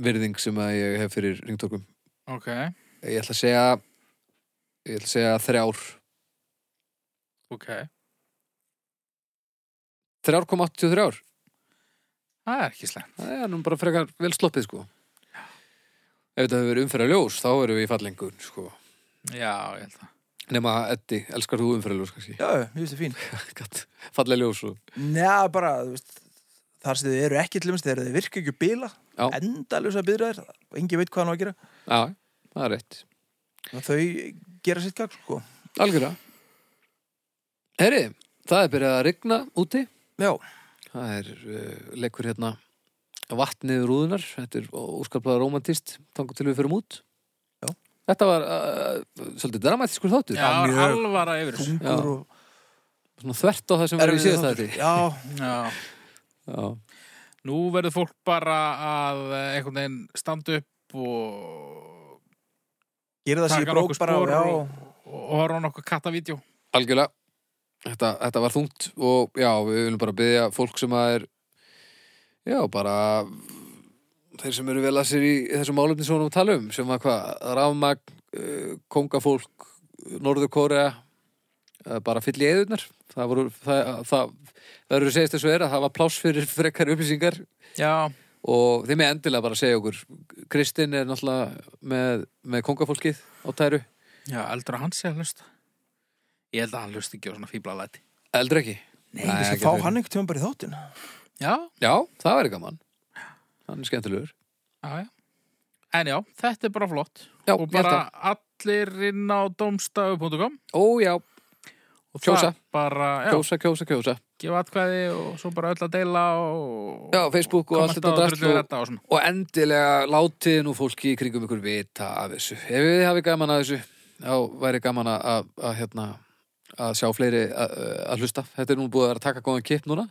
S1: virðing sem að ég hef fyrir ringtorkum.
S3: ok.
S1: Ég ætla að segja, ég ætla að segja þrjár,
S3: Ok.
S1: 3,83.
S3: Það er ekki slæmt.
S1: Það er nú bara frekar vel sloppið sko. Ef þetta hefur verið umferðarljós, þá erum við í fallengun sko.
S3: Já, ég held það.
S1: Nefna að Eddi, elskar þú umferðarljós kannski?
S2: Já, já, mér finnst það fín
S1: Gatt, fallega ljós og...
S2: Njá, bara, þú veist Þar sem þið eru ekki til umst, þegar þið virka ekki bila
S1: Já.
S2: Endaljósa byrðar og engi veit hvað hann á að gera
S1: Já, það er rétt.
S2: og Þau gera sitt gagn, sko
S1: Algjörða. Herri, það er byrjað að rigna úti.
S2: Já,
S1: Það er uh, leikur hérna vatnið rúðunar. Þetta er óskarplaða romantist, þangu til við förum út.
S2: Já.
S1: Þetta var uh, svolítið dramatískur þáttur.
S3: Já,
S2: mjög-
S3: alvara yfir þessu.
S2: tungur
S1: Já.
S2: og
S1: Svona þvert á það sem var í
S2: erfiður
S1: síðast
S2: þáttur.
S1: þetta.
S2: Já,
S3: Já.
S1: Já.
S3: Nú verður fólk bara að eh, einhvern veginn standa upp og,
S2: gera það sér
S3: Taka
S2: brók
S3: nokkur
S2: bara
S3: spor
S2: já,
S3: og- og horfa á nokkuð kattavídjó.
S1: Algjörlega, þetta, þetta var þungt og já, við viljum bara byggja fólk sem að er já, bara þeir sem eru vel að sér í þessum málefni sem við vorum að tala um, sem að hvað, rafmagn eh, kongafólk Norður Kórea eh, bara fyll í eðunar það voru, það, það verður að segja þess að vera, það var pláss fyrir frekar upplýsingar
S3: Já,
S1: og þeim er endilega bara að segja okkur Kristinn er náttúrulega með, með kongafólkið á tæru,
S3: já, eldur að hann sé að hlusta. Ég held að hann hlusta ekki á svona fíblalæti.
S1: eldur ekki
S2: Nei, við
S1: ekki
S2: sem fá
S1: fyrir.
S2: hann einhvern tíma bara í þáttin
S3: Já,
S1: Já, það verður gaman Hann er skemmtilegur
S3: já, já. En já, þetta er bara flott.
S1: Já,
S3: og
S1: ég held
S3: bara
S1: það.
S3: allir inn á domstafu.com
S1: Ó já,
S3: og
S1: Kjósa.
S3: það bara, já,
S1: kjósa, kjósa, kjósa
S3: gefa atkvæði og svo bara öll að deila og
S1: Já, Facebook og allt
S3: komast
S1: þetta
S3: á hérna.
S1: drasl
S3: drullu
S1: og,
S3: þetta og svona.
S1: og endilega látið nú fólki í kringum ykkur vita af þessu Ef við hafi gaman að þessu þá væri gaman að, að, að hérna að sjá fleiri að, að hlusta Þetta er nú búið að vera að taka góðan kipp núna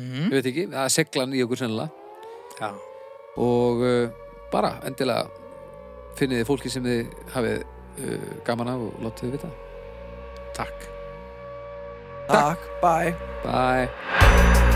S1: Ég veit ekki, það er seglan í okkur sennilega
S3: Mhm. Já.
S1: og uh, bara endilega finnið þið fólki sem þið hafið uh, gaman af og látið þið vita
S3: Takk.
S2: Takk, bye
S1: Bye